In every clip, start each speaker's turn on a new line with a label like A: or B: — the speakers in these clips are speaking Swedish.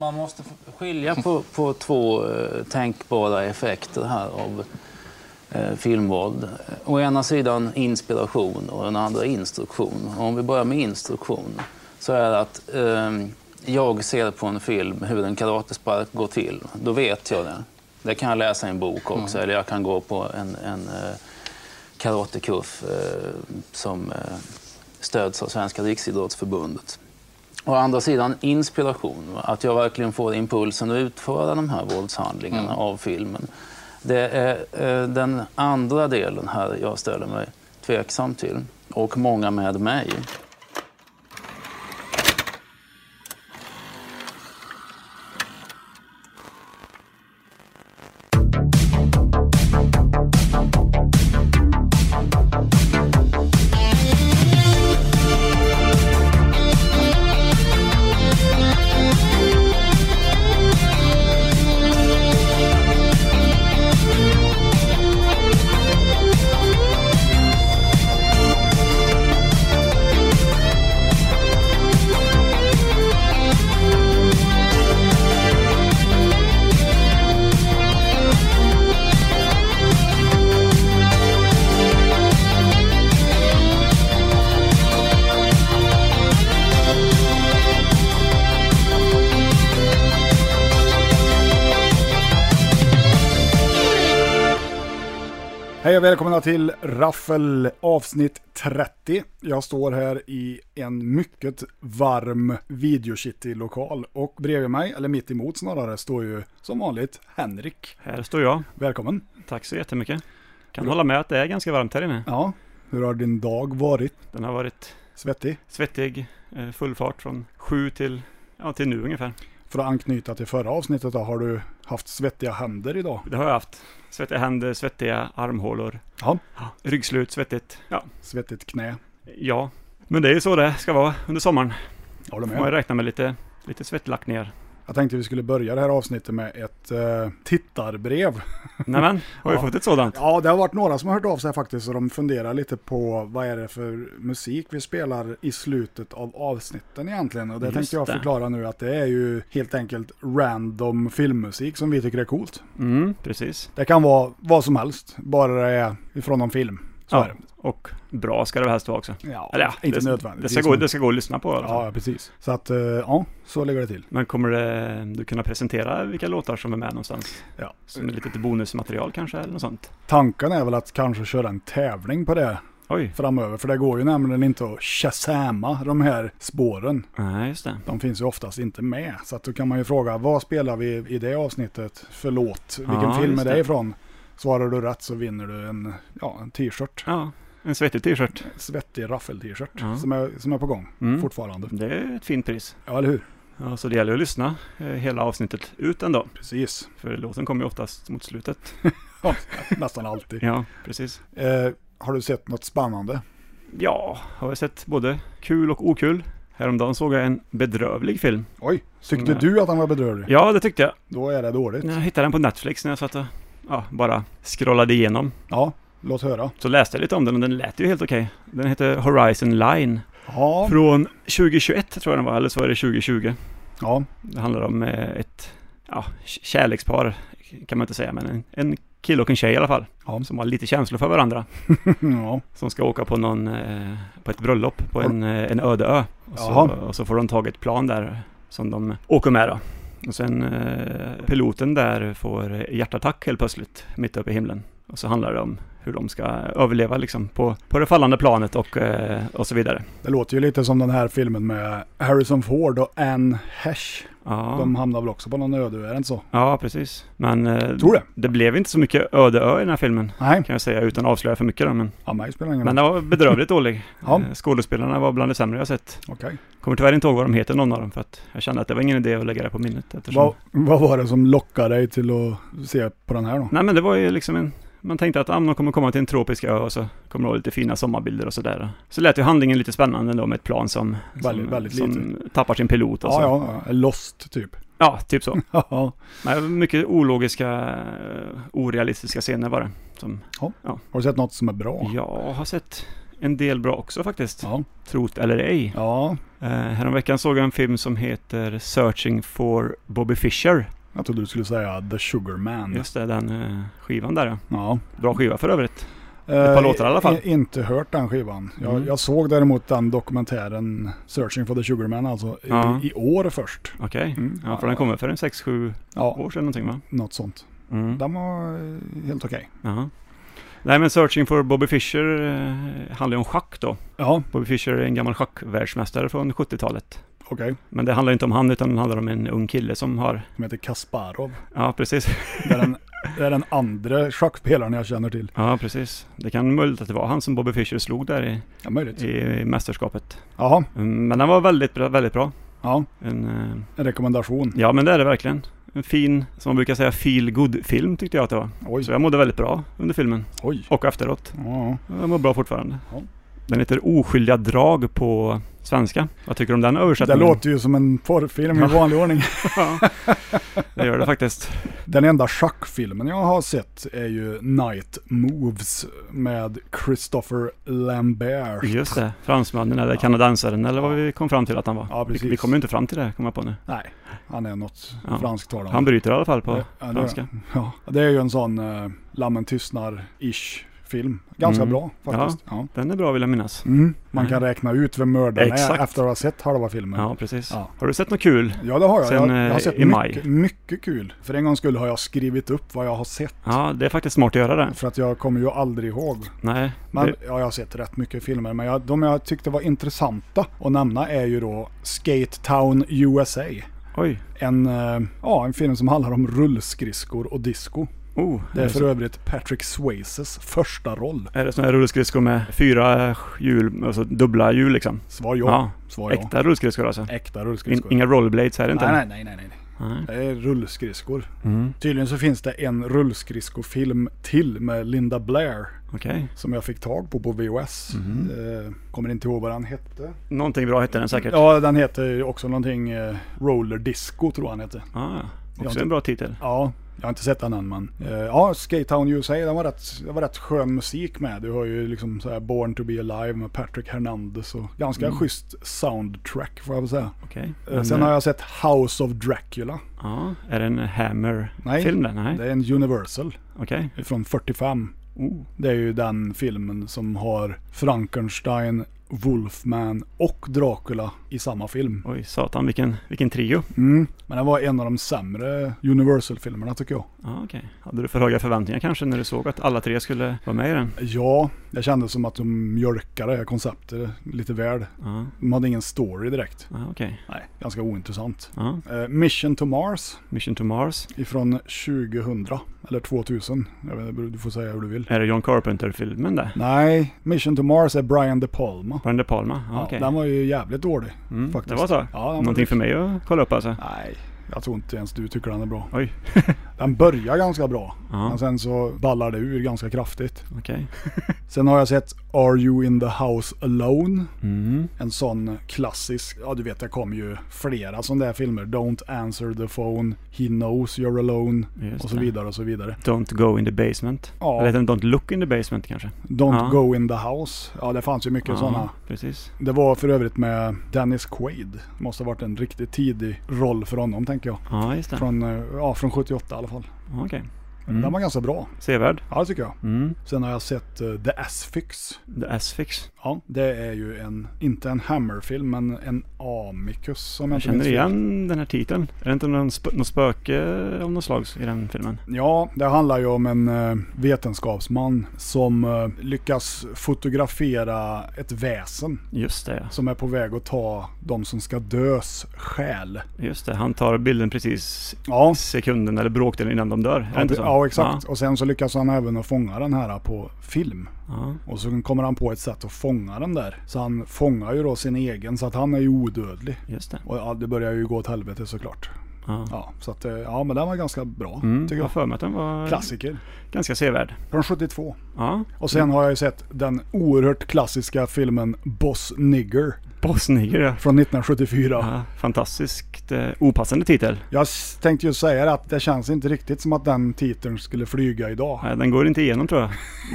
A: Man måste skilja på, på två eh, tänkbara effekter här av eh, filmvåld. Å ena sidan inspiration och den andra instruktion. Och om vi börjar med instruktion så är det att eh, jag ser på en film hur en karatespark går till. Då vet jag det. Det kan jag läsa i en bok också, eller jag kan gå på en, en eh, karatekurs eh, som eh, stöds av Svenska Riksidrottsförbundet. Å andra sidan inspiration, va? att jag verkligen får impulsen att utföra de här våldshandlingarna av filmen. Det är eh, den andra delen här jag ställer mig tveksam till, och många med mig.
B: Hej och välkomna till Raffel avsnitt 30. Jag står här i en mycket varm videocity-lokal och bredvid mig, eller mitt emot snarare, står ju som vanligt Henrik.
C: Här står jag.
B: Välkommen!
C: Tack så jättemycket. Kan hålla med att det är ganska varmt här inne.
B: Ja, hur har din dag varit?
C: Den har varit
B: Svettig?
C: svettig, eh, full fart från sju till, ja, till nu ungefär.
B: För att anknyta till förra avsnittet då, har du haft svettiga händer idag?
C: Det har jag haft. Svettiga händer, svettiga armhålor,
B: Ja,
C: ryggslut, svettigt. Ja,
B: svettigt knä.
C: ja. Men det är ju så det ska vara under sommaren.
B: Jag håller
C: Får man ju
B: med.
C: räkna med lite, lite svettlackningar.
B: Jag tänkte vi skulle börja det här avsnittet med ett eh, tittarbrev.
C: Nämen, har vi
B: Ja.
C: fått ett sådant?
B: Ja, det har varit några som har hört av sig faktiskt och de funderar lite på vad är det för musik vi spelar i slutet av avsnitten egentligen. Och det
C: Just
B: tänkte jag
C: det.
B: förklara nu att det är ju helt enkelt random filmmusik som vi tycker är coolt.
C: Mm, precis.
B: Det kan vara vad som helst, bara det är ifrån någon film. Så
C: Ja,
B: är det.
C: och bra ska det helst vara också.
B: Ja,
C: Eller ja,
B: inte
C: det,
B: nödvändigt.
C: Det ska, gå, det ska gå att lyssna på i alla fall.
B: Ja, ja, precis. Så att, eh, ja, så ligger det till.
C: Men kommer det, du kunna presentera vilka låtar som är med någonstans?
B: Ja.
C: Som ett litet bonusmaterial kanske eller något sånt?
B: Tanken är väl att kanske köra en tävling på det
C: Oj,
B: framöver, för det går ju nämligen inte att shazama de här spåren.
C: nej just det.
B: De finns ju oftast inte med. Så att då kan man ju fråga, vad spelar vi i det avsnittet för låt? Vilken
C: Ja,
B: film är
C: just
B: det
C: det.
B: ifrån? Svarar du rätt så vinner du en, ja, en t-shirt.
C: Ja, en svettig t-shirt.
B: Svettig raffel-t-shirt
C: Ja.
B: som, är, som är på gång
C: Mm.
B: fortfarande.
C: Det är ett fint pris.
B: Ja, eller hur?
C: Ja, så det gäller att lyssna eh, hela avsnittet ut ändå.
B: Precis.
C: För låten kommer ju oftast mot slutet.
B: Nästan alltid.
C: Ja, precis.
B: eh, har du sett något spännande?
C: Ja, har jag sett både kul och okul. Häromdagen såg jag en bedrövlig film.
B: Oj, tyckte
C: Nej.
B: du att han var bedrövlig?
C: Ja, det tyckte jag.
B: Då är det dåligt.
C: Jag hittade den på Netflix när jag satt och ja, bara scrollade igenom.
B: Ja, låt höra.
C: Så läste jag lite om den och den lät ju helt okej. Den heter Horizon Line.
B: Ja,
C: Från 2021 tror jag den var, eller så är det 2020.
B: ja.
C: Det handlar om eh, ett ja, k- kärlekspar, kan man inte säga, men en, en kille och en tjej i alla fall.
B: Ja.
C: Som har lite känslor för varandra.
B: ja.
C: Som ska åka på, någon, eh, på ett bröllop på en, eh, en öde ö. Och så,
B: Jaha.
C: och så får de tag i ett plan där som de åker med då. Och sen eh, piloten där får hjärtattack helt plötsligt mitt uppe i himlen. Och så handlar det om hur de ska överleva liksom på, på det fallande planet och, eh, och så vidare.
B: Det låter ju lite som den här filmen med Harrison Ford och Anne Hesh.
C: Ja,
B: De hamnar väl också på någon öde ö, är det inte så?
C: ja precis. Men eh,
B: Tror det.
C: det blev inte så mycket öde ö i den här filmen.
B: Nej,
C: kan jag säga utan att avslöja för mycket då, men,
B: ja, mig spelar ingen
C: men
B: roll.
C: den var bedrövligt dålig.
B: Ja.
C: Eh, Skådespelarna var bland det sämre jag sett.
B: Okej.
C: Kommer tyvärr inte ihåg vad de heter någon av dem för att jag kände att det var ingen idé att lägga det på minnet eftersom...
B: Vad, vad var det som lockade dig till att se på den här då?
C: Nej men det var ju liksom en... Man tänkte att ah, men de kommer komma till en tropisk ö och så kommer det vara lite fina sommarbilder och sådär. Så lät ju handlingen lite spännande då med ett plan som... mm, alltså.
B: Väldigt-
C: som,
B: väldigt
C: som
B: lite.
C: tappar sin pilot och
B: Ja,
C: så.
B: ja, ja, Lost typ.
C: ja, typ så.
B: Ja,
C: Men mycket ologiska, eh, orealistiska scener var det. Som,
B: Har du sett något som är bra?
C: jag har sett en del bra också faktiskt.
B: Ja.
C: Trot eller ej.
B: ja,
C: Eh, häromveckan såg jag en film som heter Searching for Bobby Fischer.
B: jag trodde du skulle säga The Sugar Man.
C: Just det, den eh, skivan där. ja.
B: Ja.
C: Bra skiva för övrigt.
B: Ett
C: par låtar i alla fall.
B: inte hört den skivan. Jag,
C: Mm.
B: jag såg däremot den dokumentären Searching for the Sugar Man alltså i,
C: Ja.
B: i år först.
C: Okej.
B: Mm.
C: Ja, för den kommer för en 6-7
B: Ja,
C: år sedan någonting va?
B: något sånt.
C: Mm.
B: Den var eh, helt okej.
C: Jaha. Nej men Searching for Bobby Fischer eh, handlar ju om schack då.
B: Ja,
C: Bobby Fischer är en gammal schackvärldsmästare från 70-talet.
B: okej.
C: Men det handlar inte om han utan det handlar om en ung kille som har,
B: De heter Kasparov.
C: ja precis.
B: Det är den, det är den andra schackspelaren jag känner till.
C: Ja precis. Det kan möjligt att det var han som Bobby Fischer slog där i,
B: Ja, möjligt.
C: i, i mästerskapet.
B: Jaha,
C: Mm, Men den var väldigt bra, väldigt bra.
B: ja.
C: En, eh,
B: En rekommendation.
C: ja men det är det verkligen. En fin, som man brukar säga, feel good film tyckte jag att det var.
B: Oj,
C: Så jag mådde väldigt bra under filmen
B: oj.
C: och efteråt.
B: Ja,
C: Jag mår bra fortfarande.
B: Ja.
C: Den heter Oskyldiga drag på svenska. Vad tycker du om den
B: det
C: översättningen?
B: låter ju som en porrfilm i
C: Ja.
B: vanlig ordning.
C: Ja, det gör det faktiskt.
B: Den enda schackfilmen jag har sett är ju Night Moves med Christopher Lambert.
C: Just det. Fransmannen eller kanadensaren eller vad vi kom fram till att han var.
B: Ja,
C: vi,
B: precis.
C: vi kommer ju inte fram till det, kommer jag på nu.
B: Nej, han är något
C: Ja.
B: fransktalande.
C: Han bryter i alla fall på
B: Ja, ja, det-
C: franska.
B: Ja, det är ju en sån eh, Lammen tystnar-ish film. Ganska
C: Mm.
B: bra faktiskt. Ja.
C: Den är bra vill jag minnas.
B: Mm. Man kan räkna ut vem mördaren
C: Exakt.
B: är efter att ha sett halva filmen.
C: Ja, precis.
B: Ja.
C: Har du sett något kul?
B: Ja, det har jag.
C: Sen,
B: jag, jag har
C: eh,
B: sett
C: i maj.
B: mycket, mycket kul. För en gång skulle har jag skrivit upp vad jag har sett.
C: Ja, det är faktiskt smart att göra det.
B: För att jag kommer ju aldrig ihåg.
C: Nej,
B: Men,
C: det,
B: Ja, jag har sett rätt mycket filmer, men jag, de jag tyckte var intressanta att nämna är ju då Skate Town USA.
C: oj.
B: En, eh, ja, en film som handlar om rullskridskor och disco.
C: Oh,
B: Det
C: är,
B: är
C: det
B: för
C: så,
B: övrigt Patrick Swayzes första roll.
C: är det såna här rullskridskor med fyra hjul, alltså dubbla hjul liksom?
B: Svar ja.
C: Ja.
B: Svar ja.
C: Äkta rullskridskor alltså?
B: Äkta
C: In,
B: rullskridskor.
C: inga rollerblades här inte?
B: nej, nej, nej, nej, nej.
C: nej.
B: Det är rullskridskor.
C: Mm.
B: Tydligen så finns det en rullskridskofilm till med Linda Blair.
C: Okej.
B: Som jag fick tag på på VHS.
C: Mhm.
B: Eh, kommer inte ihåg vad den hette.
C: Någonting bra hette den säkert.
B: Ja, den heter ju också någonting eh, Roller Disco tror jag han hette.
C: Ah,
B: Ja,
C: också
B: det-
C: en bra titel.
B: Ja, jag har inte sett den än men. Eh, ja, Skate Town USA, den var rätt, det var rätt skön musik med. Du har ju liksom så här Born to be alive med Patrick Hernandez och ganska schysst soundtrack får jag väl säga.
C: Okej.
B: Eh,
C: Mm. Men,
B: Sen
C: eh,
B: har jag sett House of Dracula.
C: Ja, är det en
B: Nej.
C: Hammer-film den? Nej.
B: Det är en Universal
C: Okej.
B: från 45.
C: Oh.
B: Det är ju den filmen som har Frankenstein, Wolfman och Dracula i samma film.
C: Oj, satan vilken, vilken trio.
B: Mm. Men den var en av de sämre Universal-filmerna tycker jag.
C: Ja, okej. Hade du för höga förväntningar kanske när du såg att alla tre skulle vara med i den?
B: Ja, det kändes som att de mjölkade konceptet lite väl.
C: Ja,
B: De hade ingen story direkt.
C: ja okej.
B: Nej, ganska ointressant.
C: Ja.
B: Eh, Mission to Mars
C: Mission to Mars.
B: ifrån 2000, eller 2000. Jag vet, inte, du får säga hur du vill.
C: Är det John Carpenter-filmen det?
B: Nej, Mission to Mars är Brian De Palma.
C: Var den De Palma? Ja, okej.
B: Den var ju jävligt dålig.
C: Mm,
B: faktiskt.
C: Det var så?
B: Ja, den var
C: Någonting
B: dålig.
C: för mig att kolla upp alltså?
B: Nej, jag tror inte ens du tycker den är bra.
C: Oj.
B: Den börjar ganska bra,
C: Ja,
B: men sen så ballar det ur ganska kraftigt.
C: okej.
B: Sen har jag sett Are You In The House Alone?
C: Mm.
B: En sån klassisk, ja du vet det kom ju flera sådana där filmer. Don't answer the phone, He knows you're alone
C: Just
B: och så
C: det.
B: vidare och så vidare.
C: Don't go in the basement.
B: Ja.
C: Eller heter den Don't look in the basement kanske?
B: Don't
C: Ja.
B: go in the house. Ja det fanns ju mycket sådana.
C: precis.
B: Det var för övrigt med Dennis Quaid. Måste ha varit en riktigt tidig roll för honom tänker jag.
C: Ja, just det.
B: Från, eh, ja, från 78 i alla fall.
C: Ja, Okej.
B: Den
C: Mm.
B: var ganska bra.
C: Sevärd.
B: Ja det tycker jag.
C: Mm.
B: Sen har jag sett eh, The Asphyx.
C: The Asphyx.
B: Ja, det är ju en, inte en Hammer-film, men en Amicus som jag,
C: Jag
B: inte
C: känner
B: minns fel.
C: igen den här titeln. Är det inte någon, sp- någon spöke av något slag i den filmen?
B: Ja, det handlar ju om en eh, vetenskapsman som eh, lyckas fotografera ett väsen
C: Just det,
B: som är på väg att ta de som ska dös själ.
C: ja. Just det. Han tar bilden precis
B: Ja,
C: sekunden eller bråkdelen innan de dör. Är det
B: ja,
C: inte
B: det-
C: så?
B: ja exakt. Och sen så lyckas han även att fånga den här på film.
C: Ja,
B: Och så kommer han på ett sätt att fånga den där. Så han fångar ju då sin egen, så att han är ju odödlig.
C: ja, just det.
B: Och ja, det börjar ju gå åt helvete såklart.
C: Ja.
B: Ja, så att, eh, ja, men den var ganska bra
C: Mm,
B: tycker
C: jag har
B: jag.
C: för mig att den var
B: Klassiker.
C: ganska sevärd.
B: Från 72.
C: Ja,
B: Och sen har jag ju sett den oerhört klassiska filmen Boss Nigger
C: Bosnier ja.
B: från 1974.
C: ja. Fantastiskt eh, opassande titel.
B: Jag s- tänkte ju säga det att det känns inte riktigt som att den titeln skulle flyga idag.
C: Nej, den går inte igenom tror jag.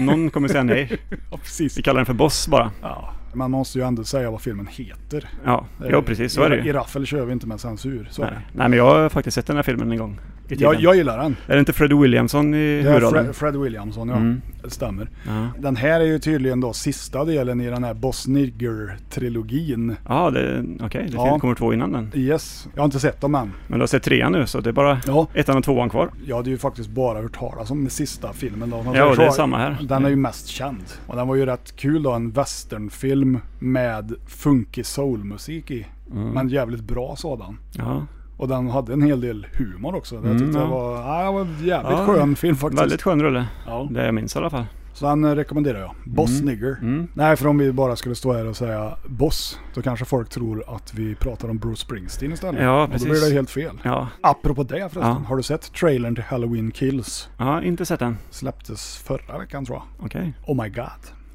C: Någon kommer säga nej.
B: Ja, precis.
C: Vi kallar den för Boss bara.
B: Ja. Man måste ju ändå säga vad filmen heter. Eh,
C: Ja, ja precis så är det
B: I
C: ju.
B: Raffel kör vi inte med censur. Så är
C: Nej.
B: det.
C: nej, men jag har faktiskt sett den här filmen en gång. I tiden.
B: Jag, jag gillar den.
C: Är det inte Fred Williamson i
B: Det är
C: huvudrollen?
B: Fred, Fred Williamson, ja.
C: Mm.
B: Det stämmer.
C: Ja,
B: Den här är ju tydligen då sista delen i den här Boss Nigger-trilogin.
C: ja det- okej. det
B: Ja.
C: kommer två innan den.
B: Yes, jag har inte sett dem än.
C: Men du har sett trean nu så det är bara
B: Ja,
C: ettan och tvåan kvar.
B: jag hade ju faktiskt bara hört talas om den sista filmen. Då.
C: Ja, och det är samma här. Mm.
B: Den är ju mest känd. Och den var ju rätt kul då, en westernfilm med funky soulmusik i.
C: Mm.
B: Men jävligt bra sådan.
C: Ja,
B: Och den hade en hel del humor också. Jag tyckte
C: Mm, ja.
B: det var, ja, det var en jävligt
C: Ja,
B: skön film faktiskt.
C: väldigt skön rulle.
B: Ja.
C: Det jag minns i alla fall.
B: Så den eh, rekommenderar jag. Boss Nigger.
C: Mm.
B: Nej, för om vi bara skulle stå här och säga Boss, då kanske folk tror att vi pratar om Bruce Springsteen istället.
C: Ja,
B: och då
C: precis.
B: blir det helt fel.
C: Ja,
B: Apropå det förresten,
C: Ja.
B: har du sett trailern till Halloween Kills?
C: ja inte sett den.
B: Släpptes förra veckan tror jag.
C: Okej.
B: Oh my god.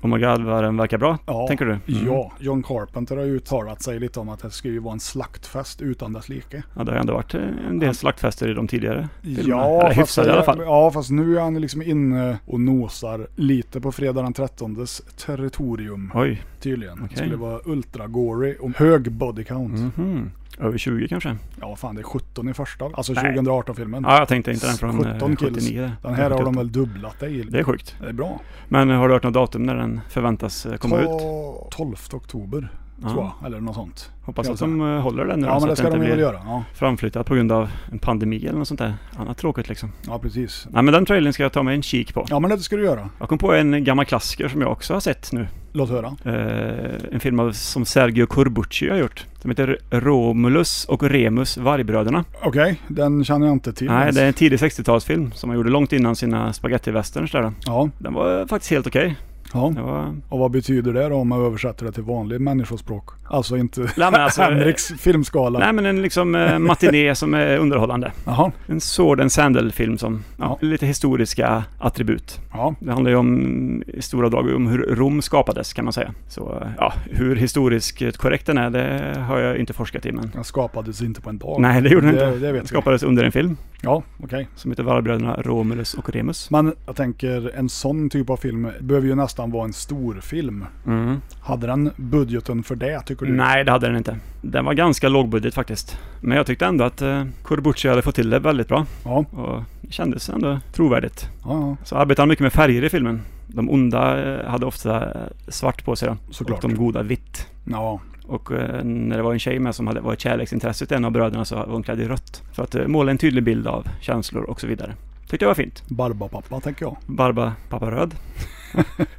C: Oh my god vad den verkar bra,
B: Ja.
C: tänker du? Mm.
B: Ja, John Carpenter har ju uttalat sig lite om att det skulle ju vara en slaktfest utan dess like.
C: Ja, det har ändå varit eh, en del slaktfester i de tidigare filmerna.
B: Ja
C: Eller hyfsade i alla fall.
B: ja, fast nu är han liksom inne och nosar lite på fredag den 13 territorium
C: Oj,
B: tydligen. Det
C: Okej.
B: skulle vara ultra-gory och hög body count.
C: mhm. över 20 kanske?
B: Ja, fan det är 17 i första, alltså
C: Nej.
B: 2018-filmen.
C: Ja, jag tänkte inte den från eh,
B: 17 kills.
C: 79. där.
B: Den här har de
C: 78.
B: väl dubblat det i.
C: Det är sjukt.
B: Det är bra.
C: Men eh, har du hört något datum när den förväntas eh, komma ut?
B: Ta- 12 oktober,
C: Ja.
B: tror jag. Eller något sånt.
C: Hoppas
B: Jag
C: att
B: tror
C: de eh, håller den nu
B: Ja,
C: då,
B: men
C: så
B: det
C: att
B: ska
C: det
B: de
C: inte
B: ju väl
C: blir
B: göra. Ja,
C: framflyttat på grund av en pandemi eller något sånt där. Annat tråkigt liksom.
B: ja, precis.
C: Nej men den trailern ska jag ta mig en kik på.
B: Ja, men det ska du göra.
C: Jag kom på en gammal klassiker som jag också har sett nu.
B: Låt höra.
C: Eh, en film av, som Sergio Corbucci har gjort. Som heter Romulus och Remus Vargbröderna.
B: Okej, den känner jag inte till.
C: Nej,
B: ens.
C: det är en tidig 60-talsfilm som han gjorde långt innan sina spagettiwesterns där då.
B: Ja,
C: Den var eh, faktiskt helt okej.
B: ja.
C: Det var...
B: Och vad betyder det då om man översätter det till vanligt människospråk? Alltså inte
C: Nej men alltså... eh,
B: Henriks filmskala.
C: Nej men en liksom eh, matiné som är underhållande.
B: Jaha,
C: En sword and sandal film som, ja,
B: Ja.
C: lite historiska attribut.
B: ja.
C: Det handlar ju om, i stora drag, om hur Rom skapades kan man säga. Så eh, ja, hur historiskt korrekt den är, det har jag inte forskat i men...
B: Den skapades inte på en dag.
C: Nej, det gjorde den inte.
B: det, det
C: Den
B: vet vi.
C: skapades under en film
B: Ja, okej.
C: som heter Vargbröderna Romulus och Remus.
B: Men jag tänker, en sån typ av film behöver ju nästan vara en stor film.
C: Mm.
B: Hade den budgeten för det, tycker du?
C: Nej, det hade den inte. Den var ganska lågbudget faktiskt. Men jag tyckte ändå att eh, Corbucci hade fått till det väldigt bra
B: Ja,
C: och det kändes ändå trovärdigt.
B: ja, ja
C: Så arbetade han mycket med färger i filmen. De onda eh, hade ofta eh, svart på sig då,
B: såklart.
C: och de goda vitt.
B: Ja,
C: Och eh, när det var en tjej med som hade varit kärleksintresse till en av bröderna så var hon klädd i rött. För att eh, måla en tydlig bild av känslor och så vidare. Tyckte jag var fint.
B: Barbapappa tänker jag.
C: Barba, pappa röd.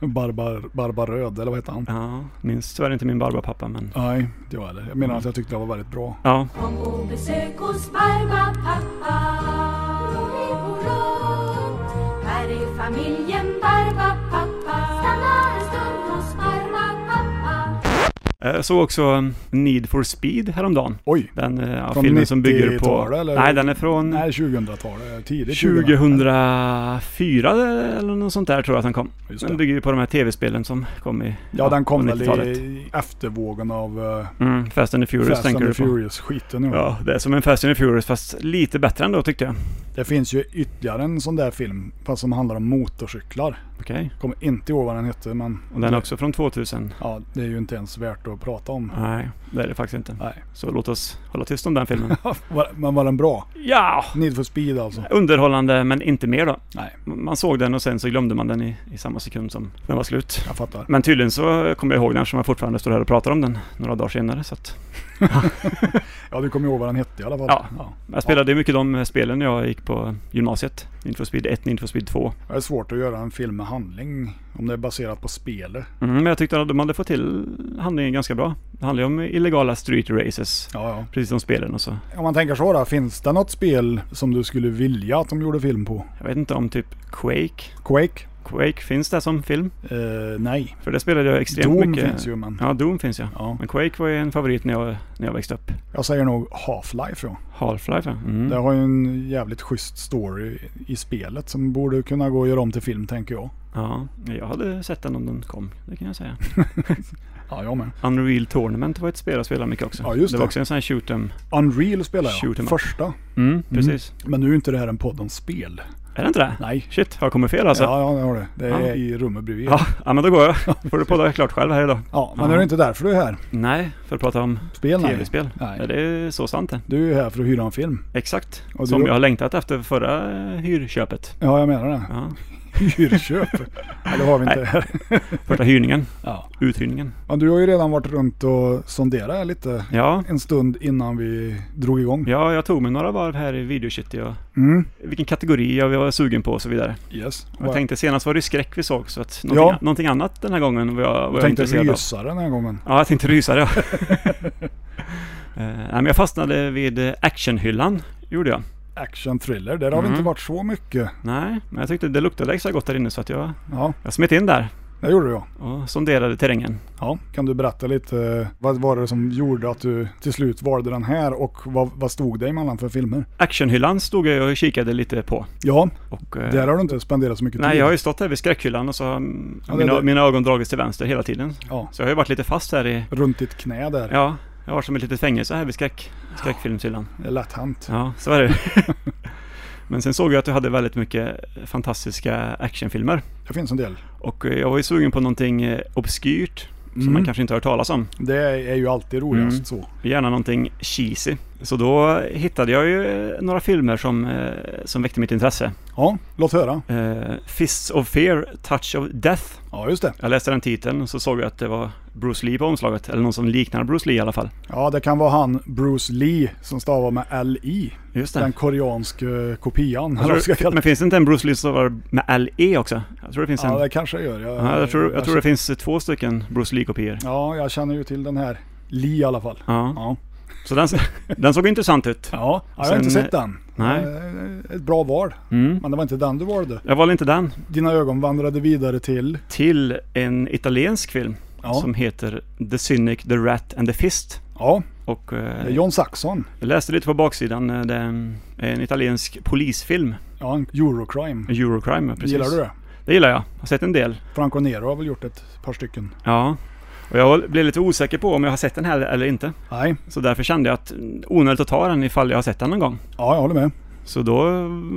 B: Barbar, Barbaröd, eller vad heter han?
C: Ja, minns tyvärr inte min Barba-pappa men...
B: Nej, det var det. Jag menar att jag tyckte det var väldigt bra.
C: Ja,
D: Kom och besök hos Barba pappa. Vi bor runt. Här är familjen Barba pappa. Stanna en stund hos Barba pappa.
C: jag såg också eh, Need for speed häromdagen.
B: Oj!
C: Den eh, ja,
B: Från
C: filmen som bygger på...
B: 90-talet, eller?
C: Nej, den är från
B: Nej, 2000-talet. Tidigt
C: 2004 eller något sånt där tror jag att den kom.
B: Just
C: Den
B: det.
C: bygger ju på de här tv-spelen som kom i...
B: Ja, den kom
C: på
B: väl
C: 90-talet.
B: i eftervågen av eh,
C: Mm, Fast and the Furious
B: Fast
C: tänker
B: and
C: du
B: the
C: på.
B: Furious-skiten. Ja.
C: Ja, det är som en Fast and the Furious fast lite bättre ändå tyckte jag.
B: Det finns ju ytterligare en sån där film, fast som handlar om motorcyklar.
C: Okej.
B: Kommer inte ihåg vad den hette, men
C: Och den är också från 2000.
B: ja, det är ju inte ens värt att prata om.
C: Nej, det är det faktiskt inte.
B: Nej.
C: Så låt oss hålla tyst om den filmen.
B: Var- Men var den bra?
C: ja!
B: Need for speed alltså?
C: Underhållande men inte mer då.
B: Nej,
C: Man såg den och sen så glömde man den i, i samma sekund som den var slut.
B: jag fattar.
C: Men tydligen så kommer jag ihåg den som jag fortfarande står här och pratar om den några dagar senare. Så att
B: Ja, du kommer ihåg vad den hette i alla fall.
C: Ja.
B: ja.
C: jag spelade ju mycket de spelen när jag gick på gymnasiet. Need for Speed 1, Need for Speed 2.
B: Det är svårt att göra en film med handling om det är baserat på spelet.
C: Mm, men jag tyckte att de hade fått till handlingen ganska bra. Det handlar ju om illegala street races.
B: Ja, ja.
C: Precis som spelen och så.
B: Om man tänker så då, finns det något spel som du skulle vilja att de gjorde film på?
C: Jag vet inte om typ Quake.
B: Quake?
C: Quake, finns det som film?
B: Eh, nej.
C: För det spelade jag extremt
B: Doom
C: mycket.
B: finns ju men
C: Ja, Doom finns ja.
B: ja.
C: Men Quake var ju en favorit när jag, när jag växte upp.
B: Jag säger nog Half-Life då.
C: Half-Life ja. Mm.
B: Det har ju en jävligt schysst story i spelet som borde kunna gå att göra om till film tänker jag.
C: ja. Jag hade sett den om den kom, det kan jag säga.
B: Ja, jag med.
C: Unreal Tournament var ett spel jag spelade mycket också.
B: Ja, just
C: var
B: det.
C: också en sån här shoot 'em.
B: Unreal spelar jag,
C: Shoot 'em up.
B: första.
C: Mm, precis.
B: Men nu är inte det här en podd om spel.
C: Är det inte det?
B: Nej.
C: Shit, har jag kommit fel alltså?
B: Ja, ja, det har det. Det är
C: Ja.
B: i rummet bredvid.
C: Ja, ja, men då går jag. får du podda klart själv här idag.
B: Ja, men
C: Ja.
B: är det inte därför du är här?
C: Nej, för att prata om
B: Spel? Nej.
C: tv-spel.
B: Nej.
C: Ja, Det är så sant det.
B: Du är här för att hyra en film.
C: Exakt.
B: Och du
C: Som
B: då?
C: jag har längtat efter förra eh, hyrköpet.
B: Ja, jag menar det.
C: Ja.
B: Hyrköp. Ja, det har vi inte här.
C: Första hyrningen,
B: Ja.
C: uthyrningen.
B: Men du har ju redan varit runt och sonderat lite
C: Ja.
B: en stund innan vi drog igång.
C: ja, jag tog mig några varv här i videocity och
B: Mm.
C: vilken kategori jag var sugen på och så vidare.
B: Yes.
C: Och jag tänkte senast var det ju skräck vi såg så att någonting,
B: Ja.
C: någonting annat den här gången var jag, var
B: jag
C: jag
B: tänkte
C: intresserad av.
B: rysa den här gången.
C: Ja, jag tänkte rysare ja. Eh, Nej, men jag fastnade vid eh, actionhyllan, gjorde jag.
B: Action thriller, där har vi
C: Mm.
B: inte varit så mycket.
C: Nej, men jag tyckte det luktade extra gott där inne så att jag,
B: Ja,
C: jag smet in där
B: det gjorde jag.
C: och sonderade terrängen.
B: Ja, kan du berätta lite, eh, vad var det som gjorde att du till slut valde den här och vad, vad stod det emellan för filmer?
C: Actionhyllan stod jag och kikade lite på.
B: Ja,
C: Och, eh,
B: där har du inte spenderat så mycket
C: nej,
B: tid.
C: jag har ju stått här vid skräckhyllan och så har mm,
B: Ja, det-
C: mina,
B: det-
C: mina ögon dragits till vänster hela tiden.
B: Ja,
C: Så jag har ju varit lite fast här i,
B: runt ditt knä där.
C: ja, jag har varit som ett litet fängelse här vid skräck, skräckfilmshyllan.
B: Det är lätt hänt.
C: Ja, så är det ju. Men sen såg jag att du hade väldigt mycket fantastiska actionfilmer.
B: Det finns en del.
C: Och eh, jag var ju sugen på någonting eh, obskyrt som
B: Mm.
C: man kanske inte har hört talas om.
B: Det är ju alltid roligast
C: Mm.
B: så.
C: Gärna någonting cheesy. Så då hittade jag ju eh, några filmer som, eh, som väckte mitt intresse.
B: Ja, låt höra.
C: Eh, Fists of Fear, Touch of Death.
B: Ja, just det.
C: Jag läste den titeln och så såg jag att det var Bruce Lee på omslaget. Eller någon som liknar Bruce Lee i alla fall.
B: Ja, det kan vara han Bruce Lee som stavar med L-I.
C: Just
B: Den koreanska kopian. eller vad jag ska
C: Jag tror,
B: kalla
C: men
B: det.
C: finns det inte en Bruce Lee som var med LE också? Jag tror det finns en.
B: Ja, det kanske jag gör.
C: ja, jag, tror, jag tror det finns två stycken Bruce Lee-kopior.
B: Ja, jag känner ju till den här Lee i alla fall.
C: Ja.
B: Ja,
C: Så den, den såg intressant ut.
B: ja jag har inte
C: Sen-
B: sett den.
C: nej.
B: Eh, Ett bra val,
C: Mm.
B: men det var inte den du valde.
C: Jag valde inte den.
B: Dina ögon vandrade vidare till...
C: Till en italiensk film
B: Ja,
C: som heter The Cynic, The Rat and the Fist.
B: ja
C: Och
B: det är
C: eh,
B: John Saxon.
C: jag läste lite på baksidan. eh, Det är en- en italiensk polisfilm.
B: Ja, en Eurocrime.
C: Eurocrime, precis.
B: Gillar du det?
C: Det gillar jag. Har sett en del.
B: Franco Nero har väl gjort ett par stycken?
C: Ja, och jag blev lite osäker på om jag har sett den här eller inte.
B: Nej,
C: Så därför kände jag att mm, onödigt att ta den ifall jag har sett den någon gång.
B: ja jag håller med.
C: Så då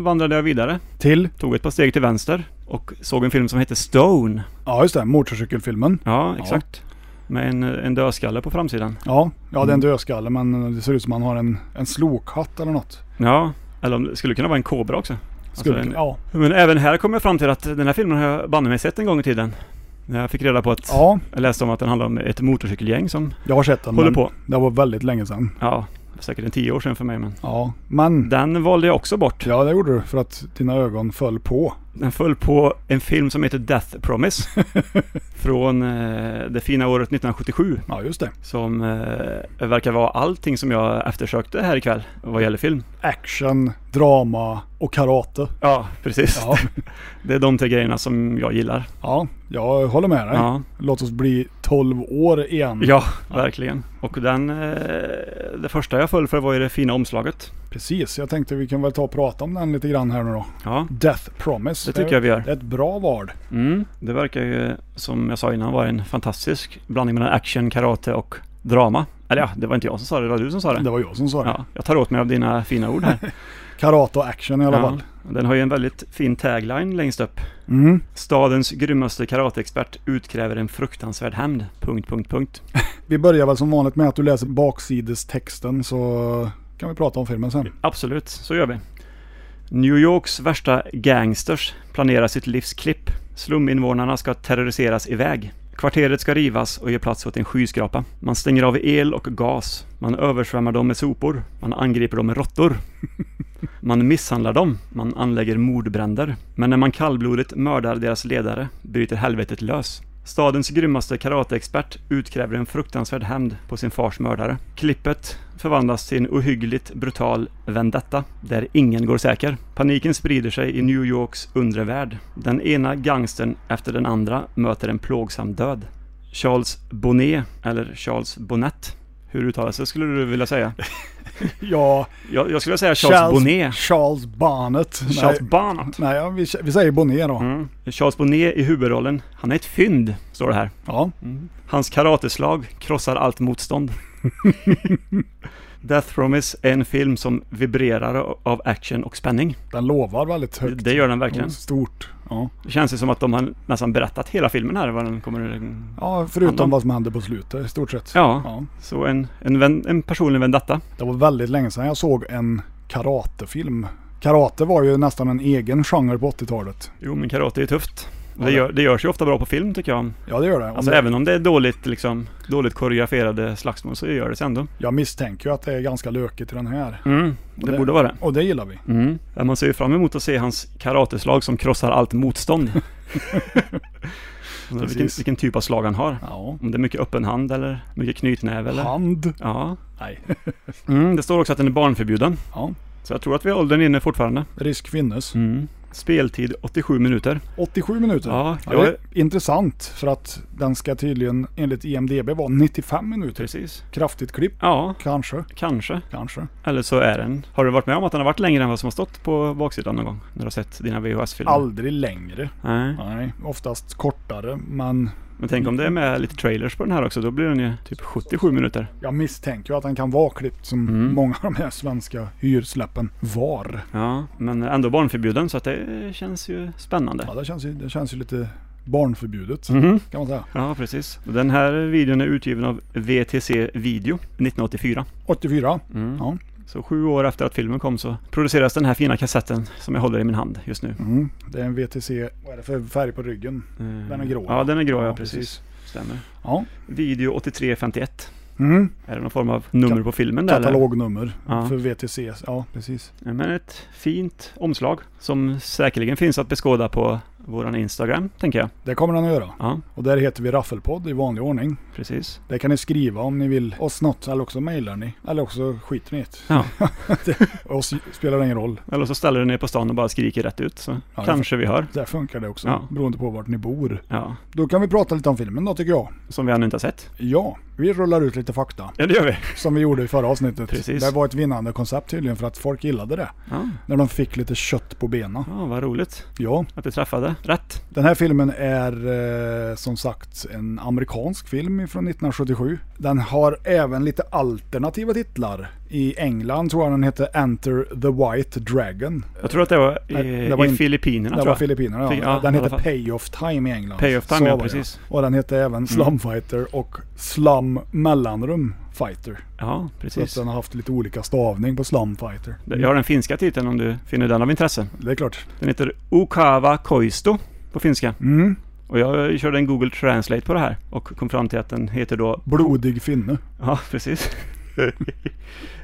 C: vandrade jag vidare,
B: Till?
C: tog ett par steg till vänster och såg en film som hette Stone.
B: Ja, just det. Motorcykelfilmen.
C: Ja,
B: Ja.
C: exakt. Med en, en dödskalle på framsidan.
B: Ja, ja det
C: Mm.
B: är en dödskalle men det ser ut som han har en, en slokhatt eller något.
C: Ja, eller om det skulle kunna vara en kobra också.
B: Skulle,
C: Alltså en-
B: ja.
C: Men även här kom jag fram till att den här filmen har jag banne mig sett en gång i tiden. När Jag fick reda på att,
B: ja, Mm.
C: jag läste om att den handlar om ett motorcykelgäng som
B: jag har sett den.
C: håller
B: men
C: på.
B: Det var väldigt länge sedan.
C: Ja, säkert en tio år sedan för mig men.
B: Ja, men
C: Den valde jag också bort.
B: ja, det gjorde du för att dina ögon föll på.
C: Den föll på en film som heter Death Promise. från eh, det fina året 1977.
B: Ja, just det.
C: Som eh, verkar vara allting som jag eftersökte här ikväll vad gäller film.
B: Action, drama och karate.
C: Ja, precis.
B: Ja,
C: Det är de tre grejerna som jag gillar.
B: ja jag håller med dig.
C: Ja,
B: Låt oss bli 12 år igen.
C: ja verkligen. Och den, eh, det första jag föll för var ju det fina omslaget.
B: Precis, jag tänkte vi kan väl ta och prata om den lite grann här nu då.
C: Ja,
B: Death Promise.
C: det tycker jag vi gör.
B: Det är ett bra val.
C: Mm, det verkar ju, som jag sa innan, vara en fantastisk blandning mellan action, karate och drama. Eller ja, det var inte jag som sa det, det var du som sa det.
B: Det var jag som sa det.
C: Ja, jag tar åt mig av dina fina ord här.
B: Karate och action i alla fall.
C: Den har ju en väldigt fin tagline längst upp.
B: Mm.
C: Stadens grymmaste karateexpert utkräver en fruktansvärd hämnd. Punkt, punkt, punkt.
B: Vi börjar väl som vanligt med att du läser baksidestexten så kan vi prata om filmen sen.
C: Absolut, så gör vi. New Yorks värsta gangsters planerar sitt livs klipp. Sluminvånarna ska terroriseras iväg. Kvarteret ska rivas och ge plats åt en skyskrapa. Man stänger av el och gas. Man översvämmar dem med sopor. Man angriper dem med råttor. Man misshandlar dem. Man anlägger mordbränder. Men när man kallblodigt mördar deras ledare bryter helvetet lös. Stadens grymmaste karateexpert utkräver en fruktansvärd hämnd på sin fars mördare. Klippet förvandlas till en ohyggligt brutal vendetta, där ingen går säker. Paniken sprider sig i New Yorks undre värld. Den ena gangstern efter den andra möter en plågsam död. Charles Bonnet, eller Charles Bonnet, hur uttalas det skulle du vilja säga?
B: Ja,
C: Jag, jag skulle säga Charles, Bonnet.
B: Charles Barnett.
C: Charles
B: nej,
C: Bonnet.
B: nej ja, vi, vi säger Bonnet då.
C: Mm. Charles Bonnet i huvudrollen. Han är ett fynd, står det här.
B: Ja.
C: Hans karateslag krossar allt motstånd. Death Promise är en film som vibrerar av action och spänning.
B: Den lovar väldigt högt.
C: Det gör den verkligen.
B: Stort. Ja,
C: Det känns ju som att de har nästan berättat hela filmen här. Vad den kommer...
B: ja förutom
C: Ja, de-
B: vad som hände på slutet i stort sett.
C: Ja,
B: Ja.
C: så en, en, vän, en personlig vendetta.
B: Det var väldigt länge sedan jag såg en karatefilm. Karate var ju nästan en egen genre på 80-talet.
C: Jo, men karate är tufft.
B: Ja,
C: Det,
B: det-
C: gör, det görs ju ofta bra på film tycker jag.
B: Ja, det gör det. Om
C: Alltså
B: det
C: även om det är dåligt, liksom, dåligt koreograferade slagsmål så gör det sig ändå.
B: Jag misstänker ju att det är ganska lökigt i den här.
C: Mm, det
B: det-
C: borde vara det.
B: Och det gillar vi.
C: Mm. Ja, Man ser ju fram emot att se hans karateslag som krossar allt motstånd. Undrar vilken,
B: Precis.
C: vilken typ av slag han har.
B: Ja.
C: Om det är mycket öppen hand eller mycket knytnäve eller?
B: Hand.
C: Ja.
B: Nej.
C: Mm, det står också att den är barnförbjuden.
B: Ja.
C: Så jag tror att vi har åldern inne fortfarande.
B: Risk finnes.
C: Mm. Speltid 87 minuter.
B: 87 minuter.
C: Ja,
B: Ja,
C: jag
B: det
C: var,
B: är intressant för att den ska tydligen enligt IMDB vara 95 minuter.
C: precis.
B: Kraftigt klipp.
C: Ja,
B: Kanske,
C: kanske.
B: kanske.
C: Eller så är den. Har du varit med om att den har varit längre än vad som har stått på baksidan någon gång? När du har sett dina VHS-filmer?
B: Aldrig längre.
C: Nej.
B: Nej, oftast kortare. Men
C: Men tänk om det är med lite trailers på den här också. Då blir den ju typ 77 minuter.
B: jag misstänker ju att den kan vara klippt som
C: Mm.
B: många av de här svenska hyrsläppen var.
C: Ja, men ändå barnförbjuden så att det känns ju spännande.
B: Ja, det känns ju, det känns ju lite barnförbjudet
C: Mhm.
B: kan man säga.
C: Ja, precis. Och Den här videon är utgiven av VTC Video 1984.
B: 84.
C: Mm.
B: Ja.
C: Så sju år efter att filmen kom så produceras den här fina kassetten som jag håller i min hand just nu.
B: Mm. Det är en VTC. Vad är det för färg på ryggen? Den är grå.
C: Eh, Ja, den är grå, ja,
B: Ja,
C: precis. Stämmer.
B: Ja.
C: Video 8351.
B: Mm.
C: Är det någon form av nummer
B: Ka-
C: på filmen där? eller?
B: Katalognummer
C: Ja.
B: för VTC. Ja, precis.
C: Ja, Men ett fint omslag som säkerligen finns att beskåda på våran Instagram, tänker jag.
B: Det kommer den att göra.
C: Ja,
B: Och där heter vi Raffelpodd i vanlig ordning.
C: precis.
B: Där kan ni skriva om ni vill oss något, eller också mejlar ni. Eller också skiter ni i det.
C: Ja.
B: Det- oss spelar ingen roll.
C: Eller så ställer du ner på stan och bara skriker rätt ut så
B: det-
C: kanske vi hör.
B: Där funkar det också,
C: Ja.
B: beroende på vart ni bor.
C: Ja,
B: Då kan vi prata lite om filmen då tycker jag.
C: som vi ännu inte har sett.
B: Ja, vi rullar ut lite fakta.
C: Ja, det gör vi.
B: Som vi gjorde i förra avsnittet.
C: Precis.
B: Det var ett vinnande koncept tydligen för att folk gillade det.
C: Ja,
B: När de fick lite kött på benen.
C: ja vad roligt
B: Ja,
C: att du träffade rätt.
B: den här filmen är eh, som sagt en amerikansk film från 1977. Den har även lite alternativa titlar. I England tror jag den hette Enter the White Dragon.
C: Jag tror att det var i,
B: Nej, det var
C: i
B: in-
C: Filippinerna.
B: Det
C: tror
B: var
C: jag.
B: Filippinerna ja.
C: Fick- ja,
B: Den
C: i alla
B: hette
C: fall.
B: Payoff Time i England.
C: Pay of
B: Så
C: time, ja
B: var det.
C: precis. Mm.
B: Och den hette även Slum Fighter och Slum Mellanrum Fighter.
C: Ja,
B: Så att
C: precis.
B: den har haft lite olika stavning på Slum Fighter.
C: Jag har den finska titeln om du finner den av intresse.
B: Det är klart.
C: Den heter Okava Koisto på finska.
B: Mm.
C: Och jag körde en Google Translate på det här och kom fram till att den heter då...
B: Blodig finne.
C: Ja, precis.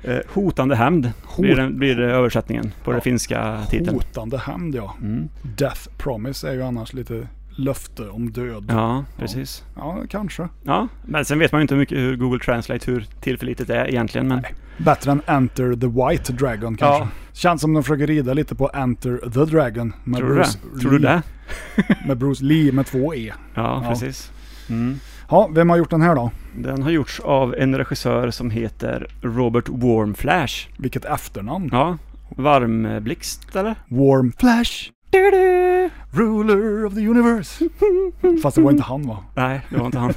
C: Eh, Hotande hämnd blir, den, blir det översättningen på den finska titeln. Mm.
B: Hotande hämnd ja. Death Promise är ju annars lite löfte om död.
C: Ja, precis.
B: Ja, kanske.
C: Ja, men sen vet man ju inte hur mycket hur Google Translate, hur tillförlitligt det är egentligen. Men
B: Bättre än Enter the White Dragon kanske. Känns som de försöker rida lite på Enter the Dragon. Med
C: tror du
B: Bruce
C: det? Tror du
B: Lee,
C: det?
B: Med Bruce Lee med två E.
C: Ja,
B: Ja.
C: precis.
B: Ja, vem har gjort den här då?
C: Den har gjorts av en regissör som heter Robert Warmflash.
B: Vilket efternamn.
C: Ja, Varmblixt eller?
B: Warm Flash. Ruler of the universe. Fast det var inte han va?
C: Nej, det var inte han.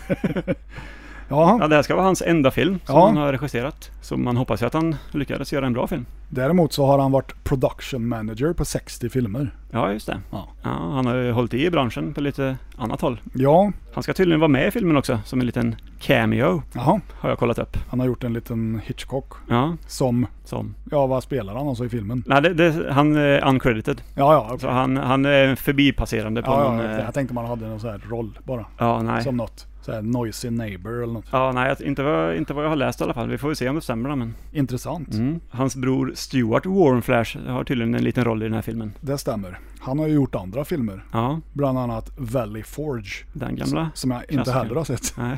C: Ja,
B: Ja,
C: det här ska vara hans enda film som
B: Ja.
C: han har regisserat. Så man hoppas ju att han lyckades göra en bra film.
B: däremot så har han varit production manager på 60 filmer.
C: Ja, just det.
B: Ja.
C: Ja, han har ju hållit i branschen på lite annat håll.
B: Ja,
C: Han ska tydligen vara med i filmen också, som en liten cameo,
B: jaha.
C: har jag kollat upp.
B: Han har gjort en liten Hitchcock
C: Ja,
B: som,
C: som...
B: ja vad spelar han alltså i filmen?
C: Nej, det, det, han är uncredited.
B: Ja, ja. okej.
C: Så han, han är förbipasserande på
B: Ja,
C: någon...
B: ja,
C: eh,
B: jag tänkte man hade någon sån här roll bara.
C: ja, nej.
B: Som något. Så här, noisy neighbor eller något.
C: Ja, nej, jag- inte vad, inte vad jag har läst i alla fall. Vi får ju se om det stämmer då, men...
B: Intressant.
C: Mm. Hans bror Stuart Warrenflash har tydligen en liten roll i den här filmen.
B: Det stämmer. Han har ju gjort andra filmer.
C: Ja,
B: Bland annat Valley Forge.
C: den gamla.
B: Som jag inte
C: Klassiker.
B: heller har sett.
C: Nej.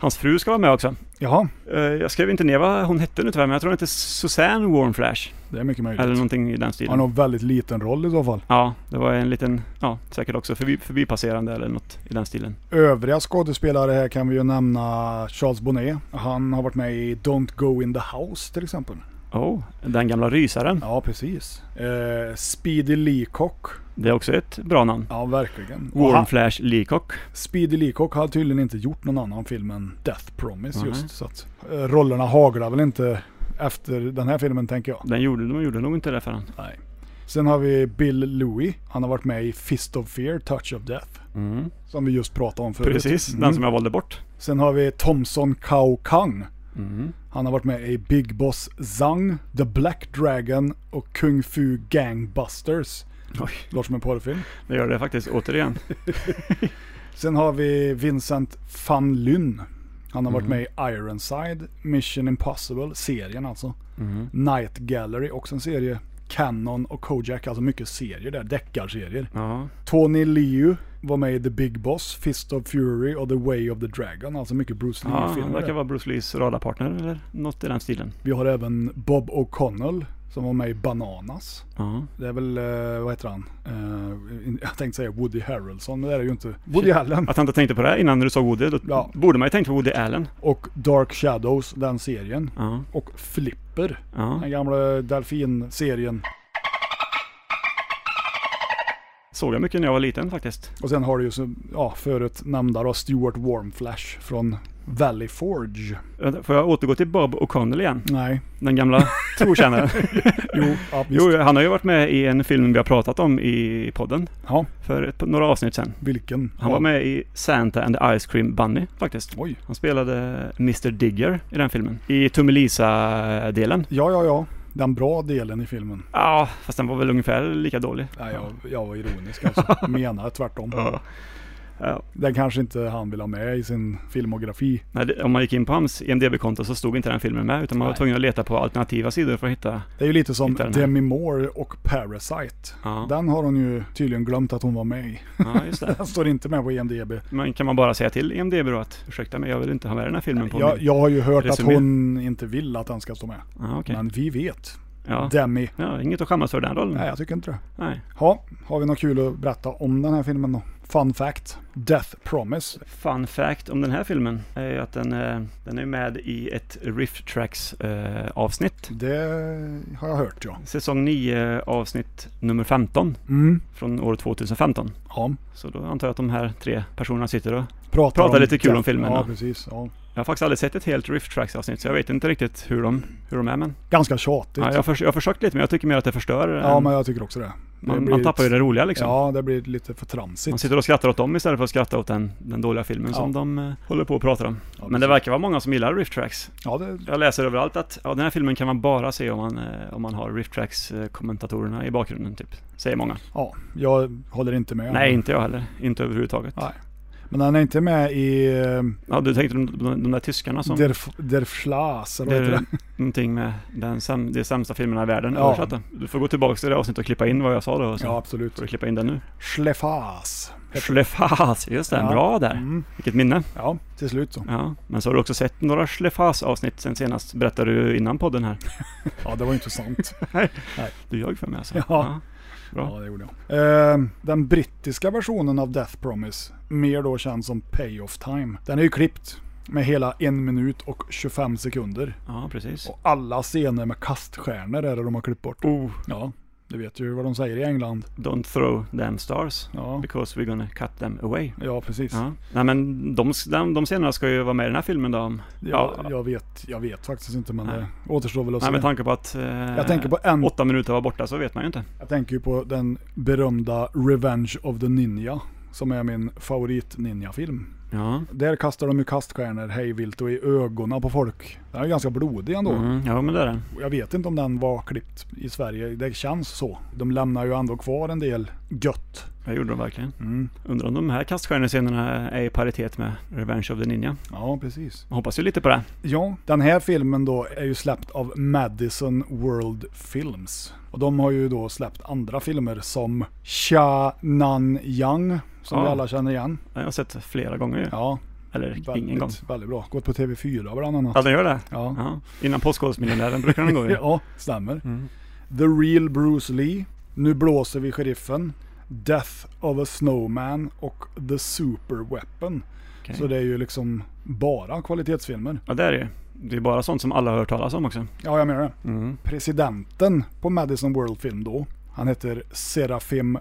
C: Hans fru ska vara med också.
B: Jaha,
C: Eh, Jag skrev inte ner vad hon hette nu tyvärr, men jag tror hon hette Susanne Warrenflash.
B: det är mycket möjligt.
C: Eller någonting i den stilen.
B: Han har en väldigt liten roll i så fall.
C: Ja, det var en liten, ja, säkert också förbi, förbipasserande eller något i den stilen.
B: Övriga skådespelare här kan vi ju nämna Charles Bonnet. Han har varit med i Don't Go In The House till exempel.
C: Oh, den gamla rysaren.
B: Ja, precis. Eh, Speedy Leacock.
C: Det är också ett bra namn.
B: Ja, verkligen. Och han-
C: Warrenflash Leacock.
B: Speedy Leacock har tydligen inte gjort någon annan film än Death Promise
C: Nej.
B: just. Så att, eh, rollerna haglar väl inte efter den här filmen tänker jag.
C: Den gjorde, de gjorde nog inte det för han.
B: Nej. Sen har vi Bill Louis. Han har varit med i Fist of Fear, Touch of Death.
C: Mm.
B: Som vi just pratade om förut.
C: Precis,
B: Mm.
C: den som jag valde bort.
B: Sen har vi Thomson Kao Kang.
C: Mm.
B: Han har varit med i Big Boss Zang, The Black Dragon och Kung Fu Gangbusters.
C: Oj,
B: Låter som en porrfilm.
C: det gör det faktiskt återigen.
B: Sen har vi Vincent van Lynn. Han har
C: Mm.
B: varit med i Ironside, Mission Impossible, serien alltså.
C: Mm.
B: Night Gallery, också en serie. Canon och Kojak, alltså mycket serier där, deckarserier.
C: Ja,
B: Tony Liu var med i The Big Boss, Fist of Fury och The Way of the Dragon, alltså mycket Bruce
C: ja han
B: Lee-filmer.
C: Ah, verkar
B: där.
C: vara Bruce Lees radarpartner eller något i den stilen.
B: Vi har även Bob O'Connell som var med i Bananas.
C: Ja.
B: Det är väl, eh, vad heter han? Eh, in- jag tänkte säga Woody Harrelson, men det är det ju inte. Woody Allen.
C: Att han inte tänkte på det innan du sa Woody, då
B: Ja.
C: borde man ju tänkt på Woody Allen.
B: Och Dark Shadows, den serien.
C: Ja,
B: Och Flipper,
C: ja.
B: den gamla delfinserien.
C: Såg jag mycket när jag var liten faktiskt.
B: Och sen har du ju så, ja, förut nämnda då Stuart Warmflash från Valley Forge.
C: Vänta, Får jag återgå till Bob O'Connell igen?
B: Nej,
C: Den gamla trotjänaren.
B: jo, ja, visst.
C: jo, han har ju varit med i en film vi har pratat om i podden
B: Ja,
C: för ett, några avsnitt sedan.
B: vilken?
C: Han var med i Santa and the Ice Cream Bunny faktiskt.
B: Oj.
C: Han spelade Mr Digger i den filmen. I Tummelisa-delen.
B: Ja, ja, ja. Den bra delen i filmen.
C: Ja, fast den var väl ungefär lika dålig.
B: Nej, jag, jag var ironisk alltså. Menar tvärtom.
C: Ja. Ja.
B: Den kanske inte han vill ha med i sin filmografi.
C: Nej, det- om man gick in på hans IMDB-konto så stod inte den filmen med utan man var
B: Nej.
C: tvungen att leta på alternativa sidor för att hitta.
B: Det är ju lite som
C: Hittar den här.
B: Demi Moore och Parasite.
C: Ja,
B: Den har hon ju tydligen glömt att hon var med i.
C: ja just det.
B: Den står inte med på IMDB.
C: Men kan man bara säga till IMDB då att ursäkta mig, jag vill inte ha med den här filmen på
B: Jag,
C: min...
B: jag har ju hört att
C: resumé.
B: hon inte vill att den ska stå med.
C: Ja, okej. Mm.
B: Men vi vet.
C: Ja.
B: Demi.
C: ja, inget att skämmas för den rollen.
B: Nej, jag tycker inte det.
C: Nej.
B: Ja, har vi något kul att berätta om den här filmen då? Fun fact. Death Promise.
C: Fun fact om den här filmen är ju att den, eh, den är med i ett Riff Tracks eh, avsnitt.
B: Det har jag hört ja.
C: Säsong 9 avsnitt nummer 15
B: Mm.
C: från år 2015.
B: Ja.
C: Så då antar jag att de här tre personerna sitter och...
B: Pratar,
C: Prata lite kul om filmen,
B: Ja,
C: då.
B: precis. Ja.
C: Jag har faktiskt aldrig sett ett helt Riff Tracks avsnitt så jag vet inte riktigt hur de, hur de är men...
B: Ganska tjatigt.
C: Ja, jag, har förs- jag har försökt lite men jag tycker mer att det förstör. eh,
B: Ja, men jag tycker också det. det
C: man,
B: blir
C: man tappar ju det roliga liksom.
B: Ja, det blir lite för
C: Man
B: tramsigt.
C: sitter och skrattar åt dem istället för att skratta åt den, den dåliga filmen som
B: Ja.
C: de eh, håller på och pratar om.
B: Ja,
C: Men det
B: precis.
C: verkar vara många som gillar Riff Tracks.
B: Ja, det,
C: Jag läser överallt att ja, den här filmen kan man bara se om man, eh, om man har Riff Tracks eh, kommentatorerna i bakgrunden typ. Säger många.
B: ja, jag håller inte med.
C: Nej, inte jag heller. Inte överhuvudtaget.
B: Nej. Men han är inte med i eh,
C: Ja, du tänkte de, de, de där tyskarna som...
B: Der, F- der Flas, eller
C: det
B: vad heter
C: är
B: det?
C: någonting med den säm, de sämsta filmerna i världen
B: Ja.
C: översatta. Du får gå tillbaka till det avsnittet och klippa in vad jag sa då. Och så
B: Ja, absolut.
C: får du klippa in den nu.
B: Schlefas.
C: Schlefas, just det.
B: Ja.
C: Bra där.
B: Mm.
C: Vilket minne.
B: Ja, till slut så.
C: Ja, men så har du också sett några Schlefas avsnitt sen senast, berättade du innan podden här.
B: Ja, det var ju intressant.
C: Du ljög för mig alltså.
B: Ja.
C: Bra.
B: Ja, det gjorde jag. Eh, den brittiska versionen av Death Promise, mer då känd som Payoff Time, den är ju klippt med hela en minut och 25 sekunder.
C: ja, precis.
B: Och alla scener med kaststjärnor är det de har klippt bort.
C: Oh,
B: Ja, du vet ju vad de säger i England.
C: don't throw them stars
B: Ja,
C: because we're gonna cut them away.
B: ja precis.
C: Ja. Nej men de, de, de scenerna ska ju vara med i den här filmen då. om-
B: Ja,
C: Ja.
B: Jag, vet, jag vet faktiskt inte men
C: Nej.
B: det återstår väl att
C: Nej, med
B: se.
C: tanke på att eh,
B: Jag tänker, på en,
C: åtta minuter var borta så vet man ju inte.
B: jag tänker ju på den berömda Revenge of the Ninja som är min favorit ninja-film.
C: Ja,
B: Där kastar de ju kaststjärnor hej vilt och i ögonen på folk. Den är ju ganska blodig ändå.
C: mm, ja men det är den.
B: Jag vet inte om den var klippt i Sverige. Det känns så. De lämnar ju ändå kvar en del gött.
C: Det gjorde de verkligen.
B: Mm.
C: Undrar om de här kaststjärnescenerna är i paritet med Revenge of the Ninja.
B: Ja, precis.
C: Jag hoppas ju lite på det.
B: Ja, den här filmen då är ju släppt av Madison World Films. Och de har ju då släppt andra filmer som Sha Nan Yang, som
C: Ja.
B: vi alla känner igen.
C: Jag har sett flera gånger ju.
B: Ja,
C: Eller ingen gång.
B: väldigt, väldigt bra. Gått på TV4 bland annat.
C: Ja, den gör det?
B: Ja.
C: Ja. Innan Postkodmiljonären brukar den gå ju.
B: Ja, stämmer. The Real Bruce Lee, Nu blåser vi sheriffen, Death of a Snowman och The Super Weapon.
C: Okej.
B: Så det är ju liksom bara kvalitetsfilmer.
C: Ja, det är det ju. Det är bara sånt som alla har hört talas om också.
B: Ja, jag menar det.
C: Mm.
B: Presidenten på Madison World Film då, han heter Serafim